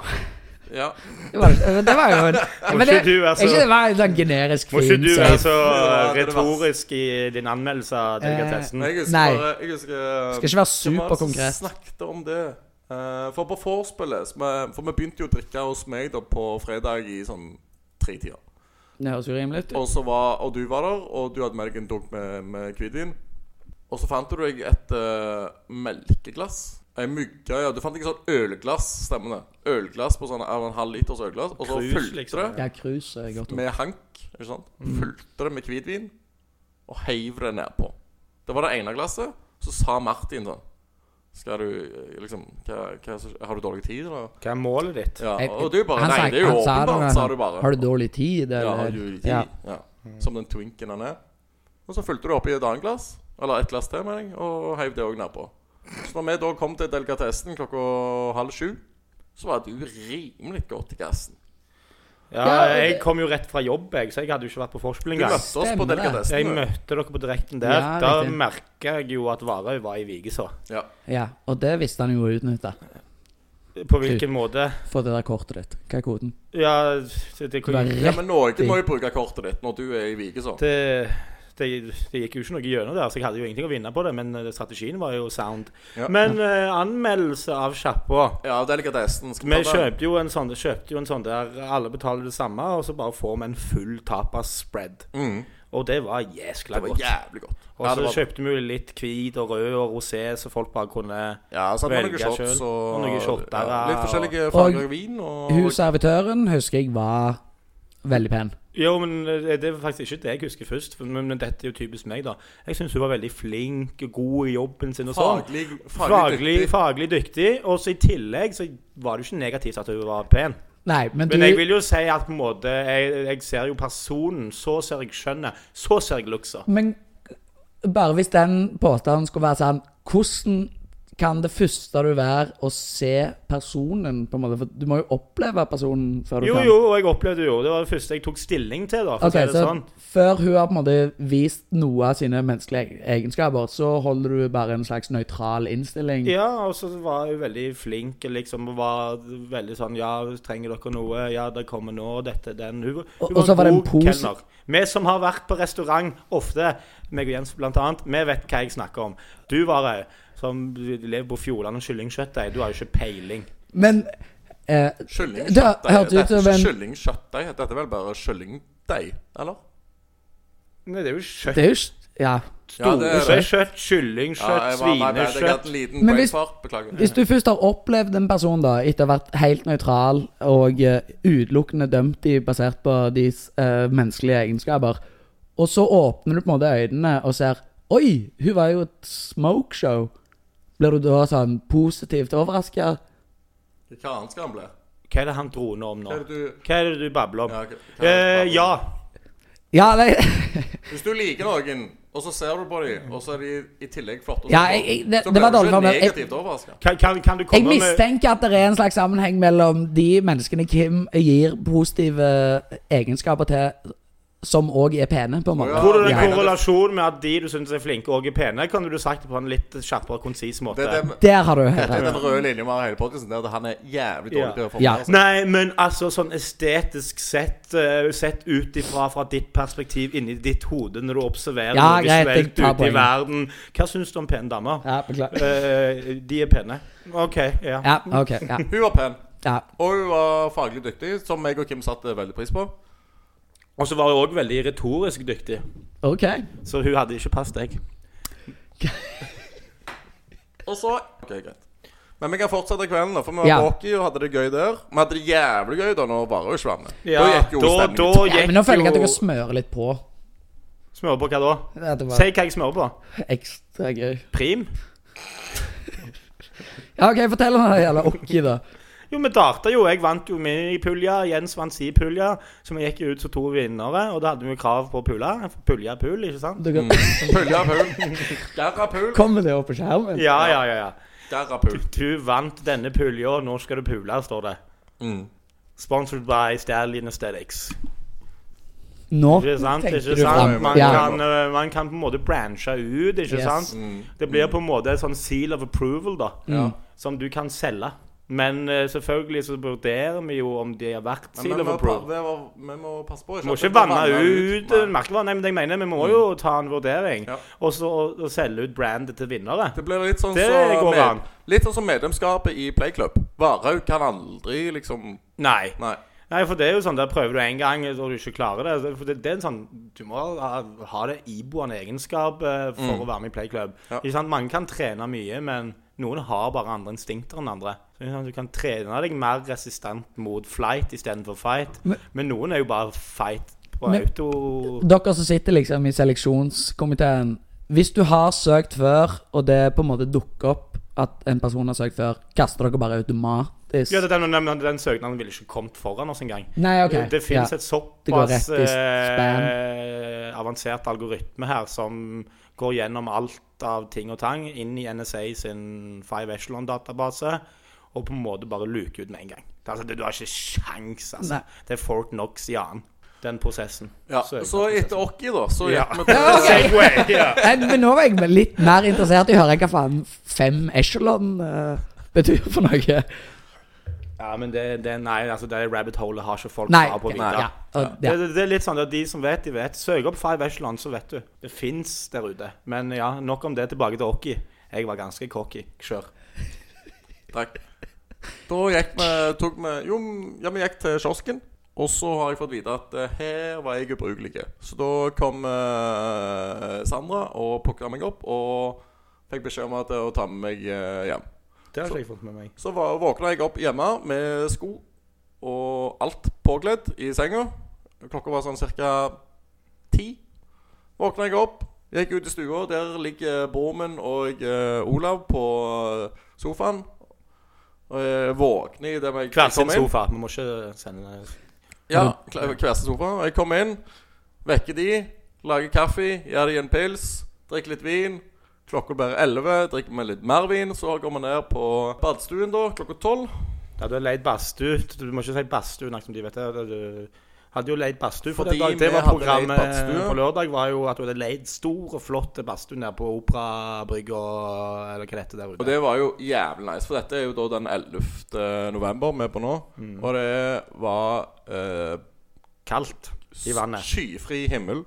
Speaker 2: ja.
Speaker 3: Det var, eh, det var jo en
Speaker 1: Må
Speaker 3: Men det,
Speaker 1: ikke du være så-
Speaker 3: ikke det var en sånn generisk
Speaker 1: Må ikke
Speaker 3: fin
Speaker 1: du være
Speaker 3: safe.
Speaker 1: så
Speaker 2: Ja, det er det
Speaker 1: retorisk i din anmeldelse av delikatessen?
Speaker 2: Jeg husker
Speaker 3: Nei.
Speaker 2: bare jeg husker,
Speaker 3: Skal ikke være
Speaker 2: hvem var det som
Speaker 3: superkonkret.
Speaker 2: Snakket om det. Eh, for på vorspielet som er- For vi begynte jo å drikke hos meg da på fredag i sånn tretida.
Speaker 3: Det høres urimelig ut.
Speaker 2: Og, så var, og du var der, og du hadde med deg en dunk med, med hvitvin. Og så fant du deg et eh, melkeglass. Ei mygge, ja. Du fant ikke sånn ølglass, stemmer det. Ølglass på sånn av en halv liters ølglass. Og så
Speaker 1: Krus,
Speaker 2: fulgte
Speaker 1: liksom. Mm.
Speaker 3: Ja, cruise er godt.
Speaker 2: det med hank. ikke sant? Fulgte det med hvitvin og heiv det nedpå. Det var det ene glasset. Så sa Martin sånn Skal du eh, liksom hva, hva, Har du dårlig tid, eller?
Speaker 1: Hva er målet ditt?
Speaker 2: Ja,
Speaker 3: Jeg-
Speaker 2: og du bare
Speaker 3: han
Speaker 2: Nei,
Speaker 3: sa-
Speaker 2: det er jo
Speaker 3: han sa det,
Speaker 2: åpenbart,
Speaker 3: men-
Speaker 2: sa du bare.
Speaker 3: Har du dårlig tid,
Speaker 2: Ja,
Speaker 3: eller?
Speaker 2: han gjorde det i tid.
Speaker 3: Ja.
Speaker 2: Ja. Som den twinken han er. Og så fulgte du opp i et annet glass, eller et glass til, mener jeg, og heiv det òg nedpå. Så når vi da kom til delikatessen klokka halv sju, så var du rimelig godt i gassen.
Speaker 1: Ja,
Speaker 3: Ja,
Speaker 1: jeg
Speaker 3: det-
Speaker 1: kom jo rett fra jobb, jeg, så jeg hadde jo ikke vært på vorspiel
Speaker 2: Du
Speaker 1: engang.
Speaker 2: møtte oss på
Speaker 3: Stemmer det.
Speaker 1: Jeg
Speaker 2: delikatessen. du.
Speaker 1: møtte dere på direkten der.
Speaker 3: Ja,
Speaker 1: da
Speaker 3: riktig.
Speaker 1: merka jeg jo at Varhaug var i Vigeså.
Speaker 2: Ja.
Speaker 3: ja, og det visste han jo å utnytte.
Speaker 1: På hvilken måte?
Speaker 3: For det der kortet ditt. Hva er koden?
Speaker 1: Ja, det, det,
Speaker 3: Du var
Speaker 1: det,
Speaker 2: ja,
Speaker 3: rett
Speaker 2: men noen må jo bruke kortet ditt når du er i Vigeså.
Speaker 1: det, det, gikk jo ikke noe gjennom der, så jeg hadde jo ingenting å vinne på det. Men eh, strategien var jo sound.
Speaker 2: Ja.
Speaker 1: Men eh, anmeldelse av sjappa
Speaker 2: Ja, delikatessen. Skal
Speaker 1: Vi
Speaker 2: vi ta den?
Speaker 1: kjøpte jo, en sånn, kjøpte jo en sånn der alle betaler det samme, og så bare får vi en full tapas-spread.
Speaker 2: Mm.
Speaker 1: Og det var jæskla
Speaker 2: Det var
Speaker 1: godt.
Speaker 2: jævlig godt.
Speaker 1: Og
Speaker 2: Ja,
Speaker 1: så
Speaker 2: det var-
Speaker 1: kjøpte vi jo litt hvit og rød og rosé, så folk bare kunne
Speaker 2: Ja, så hadde vi noen
Speaker 1: Velge
Speaker 2: shots
Speaker 1: selv,
Speaker 2: og,
Speaker 1: og noen shotter,
Speaker 2: ja, Litt
Speaker 1: og-
Speaker 2: forskjellige
Speaker 3: Og-
Speaker 2: farger vin og
Speaker 3: Hun servitøren husker jeg var veldig pen.
Speaker 1: Jo, men eh, det er faktisk ikke det jeg husker først, for- men men dette er jo typisk meg, da. Jeg syns hun var veldig flink og god i jobben sin og sånn.
Speaker 2: Faglig, faglig,
Speaker 1: Faglig,
Speaker 2: dyktig.
Speaker 1: faglig dyktig. Og så i tillegg så var det jo ikke negativt at hun var pen.
Speaker 3: Nei, men du
Speaker 1: Men jeg vil jo si at på en måte Jeg, jeg ser jo personen, så ser jeg skjønnet, så ser jeg luksa.
Speaker 3: Men bare hvis den påstanden skulle være sånn Hvordan kan det første du være å se personen, på en måte? For du må jo oppleve personen før du
Speaker 1: Jo,
Speaker 3: kan
Speaker 1: jo, og jeg opplevde jo Det var det første jeg tok stilling til, da. For å
Speaker 3: Ok,
Speaker 1: si det
Speaker 3: så
Speaker 1: sånn.
Speaker 3: Før hun har på en måte vist noe av sine menneskelige egenskaper, så holder du bare en slags nøytral innstilling.
Speaker 1: Ja, og så var jeg veldig flink, liksom. Og var veldig sånn Ja, trenger dere noe? Ja, det kommer nå. Dette, den. Hun, hun
Speaker 3: Og- og så var det en pose-
Speaker 1: kelner. Vi som har vært på restaurant ofte, meg og Jens blant annet, vi vet hva jeg snakker om. Du var ei som lever på Fjordland og kyllingkjøttdeig. Du har jo ikke peiling.
Speaker 3: Men eh, Det
Speaker 2: Kyllingkjøttdeig.
Speaker 3: hørtes
Speaker 2: Det
Speaker 3: ut
Speaker 2: er
Speaker 3: som
Speaker 2: ikke
Speaker 3: en-
Speaker 2: kyllingkjøttdeig. Dette er vel bare kyllingdeig, eller?
Speaker 1: Nei, det er jo kjøtt.
Speaker 3: det er jo ikke Ja.
Speaker 2: Ja,
Speaker 1: Store
Speaker 2: det er
Speaker 1: kjøtt, kjøtt, kyllingkjøtt,
Speaker 2: Ja, jeg var- nei, nei, Jeg ga
Speaker 1: svinekjøtt
Speaker 2: en liten
Speaker 3: Men
Speaker 2: poeng
Speaker 3: hvis-
Speaker 2: for. Beklager.
Speaker 3: Hvis du først har opplevd en person da etter å ha vært helt nøytral og eh, utelukkende dømt de basert på deres eh, menneskelige egenskaper, og så åpner du på en måte øynene og ser Oi, hun var jo et smokeshow. Blir du da sånn positivt overraska?
Speaker 2: Hva annet skal han bli?
Speaker 1: Hva er det han droner om
Speaker 2: Hva
Speaker 1: nå?
Speaker 2: er det du
Speaker 1: Hva er det du babler om?
Speaker 2: Ja, ok. Hva er
Speaker 1: Eh,
Speaker 2: det du-
Speaker 1: ja.
Speaker 3: Ja, nei
Speaker 2: Hvis du liker noen, og så ser du på dem, og så er de i tillegg flotte
Speaker 3: Ja, jeg- jeg- det- det
Speaker 2: Så blir
Speaker 3: var
Speaker 2: du
Speaker 3: dårlig
Speaker 2: ikke
Speaker 3: for meg. Jeg-
Speaker 2: negativt overraska.
Speaker 1: Kan, kan, kan du
Speaker 3: Jeg
Speaker 1: komme med
Speaker 3: mistenker at det er en slags sammenheng mellom de menneskene Kim gir positive egenskaper til, som òg er pene, på en måte.
Speaker 2: Ja.
Speaker 1: Tror du det er
Speaker 2: Ja.
Speaker 1: en korrelasjon med at de du syns er flinke og er pene, kan du sagt det på en litt skjerpere, konsis måte?
Speaker 2: Det er den,
Speaker 3: Der har du helt
Speaker 2: det er
Speaker 3: rett.
Speaker 2: den røde linja vi har i hele podkasten. Det er at han er jævlig dårlig
Speaker 1: Ja.
Speaker 2: til å
Speaker 3: Ja.
Speaker 2: formulere seg.
Speaker 1: Nei, men altså sånn estetisk sett, eh, sett ut ifra fra ditt perspektiv inni ditt hode når du observerer
Speaker 3: Ja,
Speaker 1: noe
Speaker 3: greit, jeg
Speaker 1: visuelt
Speaker 3: tar
Speaker 1: ute i
Speaker 3: poenget.
Speaker 1: verden Hva syns du om pene damer?
Speaker 3: Ja, beklager.
Speaker 1: Eh, de er pene. OK, ja.
Speaker 3: Ja, ok. Ja,
Speaker 2: Hun var pen,
Speaker 3: ja.
Speaker 2: og hun var faglig dyktig, som jeg og Kim satte veldig pris på.
Speaker 1: Og så var hun òg veldig retorisk dyktig,
Speaker 3: Ok.
Speaker 1: så hun hadde ikke passet deg.
Speaker 2: Og så Ok, greit. Men vi kan fortsette kvelden, da, for vi var
Speaker 3: Ja.
Speaker 2: på hockey og hadde det gøy der. Vi hadde det jævlig gøy da når Varhaug ikke var med.
Speaker 1: Ja,
Speaker 2: da gikk jo
Speaker 1: da,
Speaker 2: stemningen
Speaker 1: da
Speaker 2: ut.
Speaker 1: gikk
Speaker 3: Ja, men nå føler jeg at
Speaker 1: jo
Speaker 3: dere smører litt på.
Speaker 1: Smører på hva da?
Speaker 3: At det
Speaker 1: Si
Speaker 3: var
Speaker 1: hva jeg smører på.
Speaker 3: ekstra gøy.
Speaker 1: Prim?
Speaker 3: Ja, ok, fortell om det gjelder Okki, da.
Speaker 1: Jo, vi darta jo. Jeg vant jo min i pulja. Jens vant si pulja. Så vi gikk jo ut som to vinnere, og da hadde vi jo krav på pula. Pulja er pul, ikke sant?
Speaker 2: Mm.
Speaker 3: Dere
Speaker 2: Pulja pul. Garra pul.
Speaker 3: kommer det opp på skjermen.
Speaker 1: Ja, ja, ja. ja.
Speaker 2: Garra pul.
Speaker 1: Du vant denne pulja, nå skal du pule, står det.
Speaker 2: Mm.
Speaker 1: Sponsored by Stalin Aesthetics.
Speaker 3: Nå
Speaker 1: Ikke sant?
Speaker 3: tenker
Speaker 1: Ikke
Speaker 3: du
Speaker 1: sant?
Speaker 3: fram.
Speaker 1: Man,
Speaker 3: Ja.
Speaker 1: kan, øh, man kan på en måte branche ut, ikke
Speaker 3: Yes.
Speaker 1: sant?
Speaker 2: Mm.
Speaker 1: Det blir på en måte et sånn seal of approval, da.
Speaker 3: Mm.
Speaker 2: Ja.
Speaker 1: Som du kan selge. Men øh, selvfølgelig så vurderer vi jo om de har vært
Speaker 2: Men
Speaker 1: seal
Speaker 2: vi
Speaker 1: of
Speaker 2: må,
Speaker 1: approval.
Speaker 2: pa- det var- vi må passe på.
Speaker 1: Vi må
Speaker 2: at
Speaker 1: ikke
Speaker 2: vi
Speaker 1: vanne ut
Speaker 2: Nei. Mm.
Speaker 1: eh, merkevarer. Nei, men jeg mener, vi må jo ta en vurdering.
Speaker 2: Ja.
Speaker 1: Og så og- og selge ut brandet til vinnere.
Speaker 2: Det blir litt sånn
Speaker 1: Det
Speaker 2: som
Speaker 1: går an.
Speaker 2: med, Litt sånn som medlemskapet i Playclub. Varhaug kan aldri liksom
Speaker 1: Nei.
Speaker 2: Nei.
Speaker 1: Nei, for det er jo sånn, der prøver du en gang og du ikke klarer det. For det, det er en sånn, Du må ha, ha det iboende egenskap eh, for å være med i playklubb.
Speaker 2: Mm. Ja.
Speaker 1: Ikke sant? Mange kan trene mye, men noen har bare andre instinkter enn andre. Så, ikke sant, du kan trene deg mer resistent mot flight istedenfor fight.
Speaker 3: Men-
Speaker 1: Men, noen er jo bare fight på
Speaker 3: Men-
Speaker 1: auto...
Speaker 3: Dere som sitter liksom i seleksjonskomiteen Hvis du har søkt før Og det på en måte dukker opp At en person har søkt før Kaster dere bare automatisk
Speaker 1: Ja, det, er den, den, den søknaden ville ikke kommet foran oss engang.
Speaker 3: Nei, ok
Speaker 1: Det finnes
Speaker 3: ja.
Speaker 1: et
Speaker 3: Det går
Speaker 1: såpass
Speaker 3: rett i spam.
Speaker 1: eh, avansert algoritme her som går gjennom alt av ting og tang inn i NSA sin Five Echelon-database og på en måte bare luker ut med en gang. Det, er altså, det, du har ikke sjans, altså.
Speaker 3: Nei.
Speaker 1: Det er Fort Knox i annen, den prosessen.
Speaker 2: Ja. Så etter Okki, da, så
Speaker 1: Ja.
Speaker 2: gikk vi til
Speaker 1: Segway, ja.
Speaker 3: Nei, Men nå var jeg vel litt mer interessert i å høre Hva faen fem echelon eh, betyr for noe
Speaker 1: ja, men det, det, nei, altså, det rabbit holet har ikke folk
Speaker 3: Nei,
Speaker 1: svar på å vite.
Speaker 2: nei,
Speaker 3: ja, og,
Speaker 1: Det,
Speaker 3: ja.
Speaker 1: det, det er litt sånn at de som vet, de vet. Søk opp Five Echelon, så vet du. Det fins der ute. Men ja, nok om det. Tilbake til Okki. Jeg var ganske cocky. Kjør.
Speaker 2: Takk. Da gikk vi, tok vi Jo, ja, vi gikk til kiosken. Og så har jeg fått vite at eh, her var jeg ubrukelig. Så da kom eh, Sandra og plukka meg opp og fikk beskjed om at, eh, å ta med meg eh, hjem.
Speaker 1: Det
Speaker 2: har ikke
Speaker 1: jeg fått med meg.
Speaker 2: Så var, våkna jeg opp hjemme med sko og alt påkledd i senga. Klokka var sånn ca. ti. Våkna jeg opp, gikk ut i stua. Der ligger Bormen og eh, Olav på sofaen. eh, Og jeg våkner i det jeg
Speaker 1: Hver sin
Speaker 2: kommer inn.
Speaker 1: sofa. Vi må ikke sende
Speaker 2: Ja, kla- kveste sofa. Og Jeg kommer inn, vekker de, lager kaffe, gir de en pils, drikker litt vin. Klokka blir 11, drikker vi litt mer vin. Så går vi ned på badstuen da, klokka 12.
Speaker 1: Ja, du har leid badstue. Du må ikke si badstue, nok som de vet det. Du hadde jo leid badstue. For
Speaker 2: Fordi
Speaker 1: den dagen det
Speaker 2: vi
Speaker 1: var
Speaker 2: hadde leid
Speaker 1: programmet
Speaker 2: badstue.
Speaker 1: på lørdag, var jo at du hadde leid stor og flott badstue nede på Operabrygga, eller hva det heter der
Speaker 2: Og
Speaker 1: ute.
Speaker 2: det var jo jævlig nice, for dette er jo da den 11. november vi er på nå.
Speaker 1: Mm.
Speaker 2: Og det var eh,
Speaker 1: Kaldt i vannet.
Speaker 2: skyfri himmel,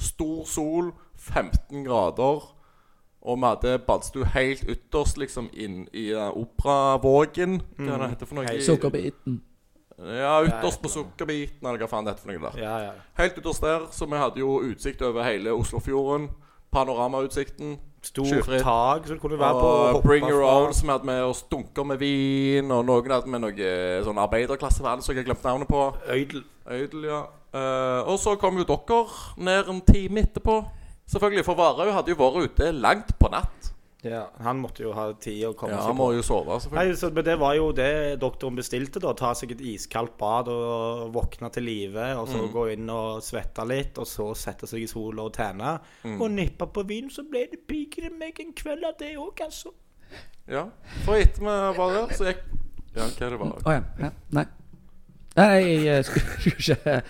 Speaker 2: stor sol, 15 grader. Og vi hadde badstue helt ytterst, liksom inn i eh, operavågen. Hva
Speaker 1: Mm.
Speaker 2: er det heter for noe?
Speaker 1: Helt
Speaker 3: Sukkerbiten.
Speaker 2: Ja, ytterst på sukkerbiten, eller hva faen det heter for noe der.
Speaker 1: Ja, ja.
Speaker 2: Helt ytterst der, så vi hadde jo utsikt over hele Oslofjorden. Panoramautsikten.
Speaker 1: Stort
Speaker 2: Skyfritt.
Speaker 1: tak som du kunne være på.
Speaker 2: Og
Speaker 1: hoppe
Speaker 2: Bring Your
Speaker 1: fra.
Speaker 2: Own, som vi hadde med oss dunker med vin, og noen hadde med noe sånn arbeiderklassevern som jeg har glemt navnet på.
Speaker 1: Øydel.
Speaker 2: Øydel, ja. Eh, og så kom jo dere ned en time etterpå. Selvfølgelig, for Varhaug hadde jo vært ute langt på natt.
Speaker 1: Ja, han måtte jo ha tid å komme
Speaker 2: Ja,
Speaker 1: seg
Speaker 2: Han
Speaker 1: på.
Speaker 2: må jo sove, selvfølgelig.
Speaker 1: Nei, så, men Det var jo det doktoren bestilte. da Ta seg et iskaldt bad og våkne til live. Og
Speaker 2: Mm.
Speaker 1: så gå inn og svette litt, og så sette seg i sola og tenne.
Speaker 2: Mm.
Speaker 1: Og nippe på vin, så ble det piker meg en kveld av det òg, altså.
Speaker 2: Ja. For etter vi var der, så gikk Ja, hva er det var?
Speaker 3: Å ja. ja. Nei. Nei, jeg eh, skulle skulle ikke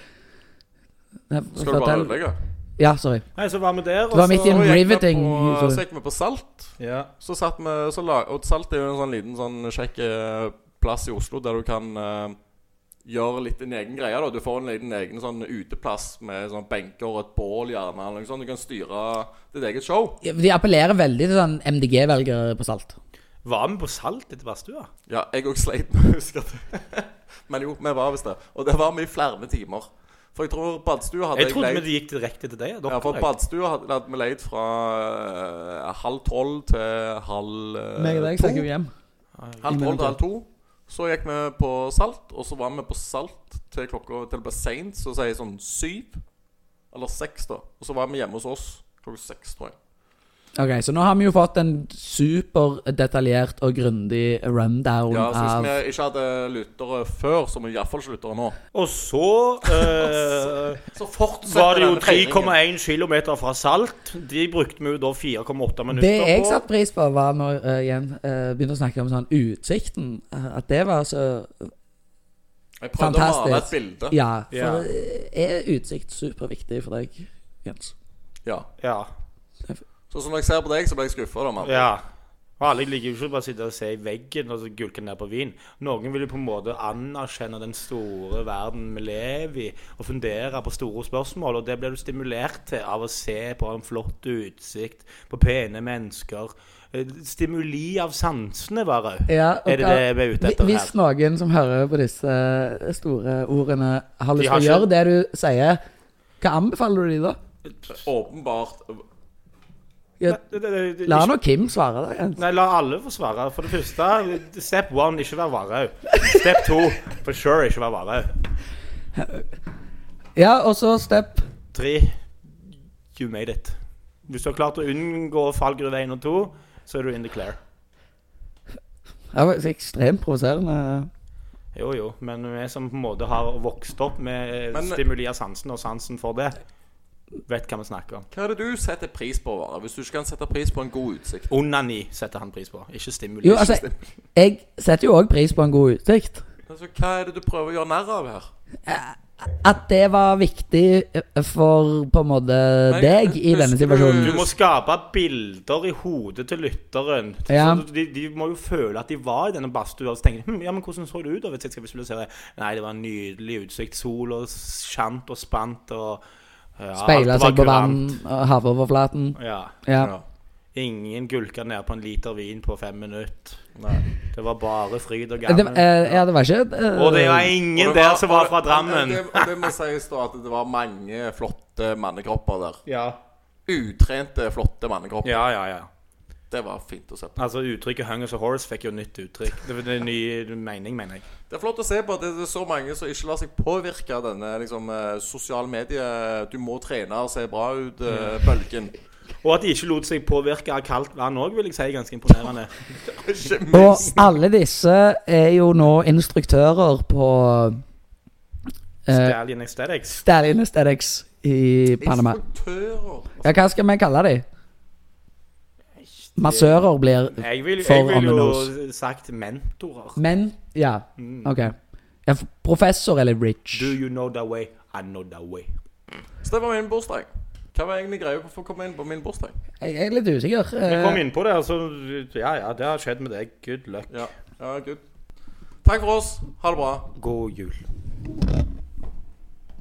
Speaker 3: Nei,
Speaker 2: Skal du bare
Speaker 3: fortell.
Speaker 2: ødelegge?
Speaker 3: Ja, sorry.
Speaker 1: Nei, så var vi der, og
Speaker 3: Det var midt i
Speaker 1: så
Speaker 3: en
Speaker 2: Så gikk vi
Speaker 3: riveting.
Speaker 2: på- Så
Speaker 3: sorry.
Speaker 2: gikk vi på Salt.
Speaker 1: ja.
Speaker 2: Så satt vi så la, Og Salt er jo en sånn liten sånn kjekk eh, plass i Oslo der du kan eh, gjøre litt din egen greie. da Du får en liten egen sånn uteplass med sånn benker og et bål, gjerne. Eller noe sånt. Du kan styre ditt eget show.
Speaker 3: Ja, De appellerer veldig til sånn MDG-velgere på Salt.
Speaker 1: Var vi på Salt etter badstua?
Speaker 2: Ja, jeg òg sleit med å huske det. Men jo, vi var visst det. Og det var vi i flere timer. For jeg tror badstua hadde
Speaker 1: Jeg trodde
Speaker 2: leid-
Speaker 1: vi det gikk direkte til deg. Dere,
Speaker 2: Ja, for
Speaker 1: jeg.
Speaker 2: badstua hadde, hadde vi leid fra eh, halv tolv til halv eh,
Speaker 3: Meg og deg
Speaker 2: to.
Speaker 3: snakker jo hjem.
Speaker 2: Halv tolv
Speaker 3: Imellom
Speaker 2: til halv to. Så gikk vi på Salt, og så var vi på Salt til klokka til det ble seint, så sier jeg sånn syv. Eller seks, da. Og så var vi hjemme hos oss klokka seks, tror jeg.
Speaker 3: Ok, Så nå har vi jo fått en superdetaljert og grundig rundown
Speaker 2: Ja, så Hvis
Speaker 3: av
Speaker 2: vi ikke hadde lyttere før, så må vi iallfall ikke lyttere nå.
Speaker 1: Og så eh,
Speaker 2: Så fortsetter
Speaker 1: var det jo
Speaker 2: denne feiringen.
Speaker 1: 3,1 km fra Salt. De brukte vi jo da 4,8 minutter
Speaker 3: Det jeg
Speaker 1: på.
Speaker 3: satte pris på, var når uh, igjen eh, begynte å snakke om sånn utsikten. eh, at det var så
Speaker 2: Jeg prøvde å male et
Speaker 3: Fantastisk.
Speaker 2: bilde.
Speaker 3: Ja. For
Speaker 1: Ja.
Speaker 3: eh, er utsikt superviktig for deg, Jens?
Speaker 2: Ja.
Speaker 1: Ja.
Speaker 2: Så som jeg ser på deg, så ble jeg skuffa, da, mann.
Speaker 1: Ja. Og alle liker jo ikke bare å sitte og se i veggen og så gulke ned på vin. Noen vil jo på en måte anerkjenne den store verden vi lever i, og fundere på store spørsmål, og det blir du stimulert til av å se på en flott utsikt, på pene mennesker. Eh, Stimuli av sansene, bare.
Speaker 3: Ja, og
Speaker 1: Er det
Speaker 3: da-
Speaker 1: det vi er ute etter
Speaker 3: hvi- Hvis noen som hører på disse eh, store ordene, har
Speaker 1: De
Speaker 3: lyst til
Speaker 1: har
Speaker 3: å
Speaker 1: ikke-
Speaker 3: gjøre det du sier, hva anbefaler du dem da?
Speaker 2: Åpenbart.
Speaker 3: Ja,
Speaker 1: Det- det- det- det-
Speaker 3: la nå Kim svare, da. Jens.
Speaker 1: Nei, la alle få svare. For det første, step one, ikke vær varaug. Step two, for sure, ikke vær varaug.
Speaker 3: Ja, og så Step.
Speaker 1: Tre, you made it. Hvis du har klart å unngå fallgruve 1 og 2, så er du in the clear.
Speaker 3: Det var så ekstremt provoserende.
Speaker 1: Jo, jo, men vi som på en måte har vokst opp med
Speaker 2: Men-
Speaker 1: stimuli av sansen og sansen for det, vet hva vi snakker om.
Speaker 2: Hva er det du setter pris på, Vare? Hvis du ikke kan sette pris på en god utsikt?
Speaker 1: Onani setter han pris på, ikke stimuli.
Speaker 3: Jo, altså, jeg setter jo òg pris på en god utsikt.
Speaker 2: Altså, hva er det du prøver å gjøre narr av her?
Speaker 3: At det var viktig eh, for på en måte deg i denne
Speaker 2: husker
Speaker 1: Du
Speaker 2: du-
Speaker 3: situasjonen.
Speaker 1: må skape bilder i hodet til lytteren.
Speaker 3: Ja.
Speaker 1: Så de, de må jo føle at de var i denne badstua. Og så tenker de hm, ja, men hvordan så det ut? over tid? Skal vi visualisere det? Nei, det var en nydelig utsikt. Sol og skjant og spant. og ja,
Speaker 3: Speile
Speaker 1: alt var
Speaker 3: seg på vann
Speaker 1: kurant.
Speaker 3: og havoverflaten.
Speaker 1: Ja.
Speaker 3: Ja.
Speaker 1: Ingen gulka ned på en liter vin på fem minutter.
Speaker 2: Nei.
Speaker 1: Det var bare fryd og
Speaker 3: Det,
Speaker 1: gammen.
Speaker 3: eh, ja, det var ikke eh,
Speaker 1: Og det var ingen
Speaker 2: Og det
Speaker 1: der som var fra
Speaker 2: og det-
Speaker 1: Drammen.
Speaker 2: Og det, og det må sies da at det var mange flotte mannekropper der.
Speaker 1: Ja.
Speaker 2: Utrente, flotte mannekropper.
Speaker 1: ja, ja, ja.
Speaker 2: Det var fint å se på.
Speaker 1: Altså Uttrykket 'hungers and horse' fikk jo nytt uttrykk. Det var en ny mening, mener jeg.
Speaker 2: Det er flott å se på at det det er så mange som ikke lar seg påvirke av denne liksom, eh, sosiale medier Du må trene og se bra ut-bølgen.
Speaker 1: Og at de ikke lot seg påvirke av kaldt vann òg, vil jeg si er ganske imponerende.
Speaker 2: Ikke
Speaker 3: Og
Speaker 2: minst.
Speaker 3: alle disse er jo nå instruktører på eh,
Speaker 1: Stallion Aesthetics.
Speaker 3: Stallion Aesthetics i Panama.
Speaker 2: Instruktører.
Speaker 3: Ja, hva skal vi kalle de? Massører blir
Speaker 1: Jeg vil,
Speaker 3: For
Speaker 1: jeg vil jo
Speaker 3: Amenos.
Speaker 1: sagt mentorer.
Speaker 3: Men Ja,
Speaker 1: Mm.
Speaker 3: OK. Ja, f- professor eller rich?
Speaker 1: Do you know the way? I know the way.
Speaker 2: Så det var min bursdag. Hva var egentlig greia? Hvorfor kom jeg inn på min bursdag?
Speaker 3: Jeg jeg er litt usikker.
Speaker 1: Vi
Speaker 3: eh,
Speaker 1: kom inn på det, altså. Ja, ja, det har skjedd med deg. Good luck.
Speaker 2: Ja, ja, good. Takk for oss. Ha det bra.
Speaker 1: God jul.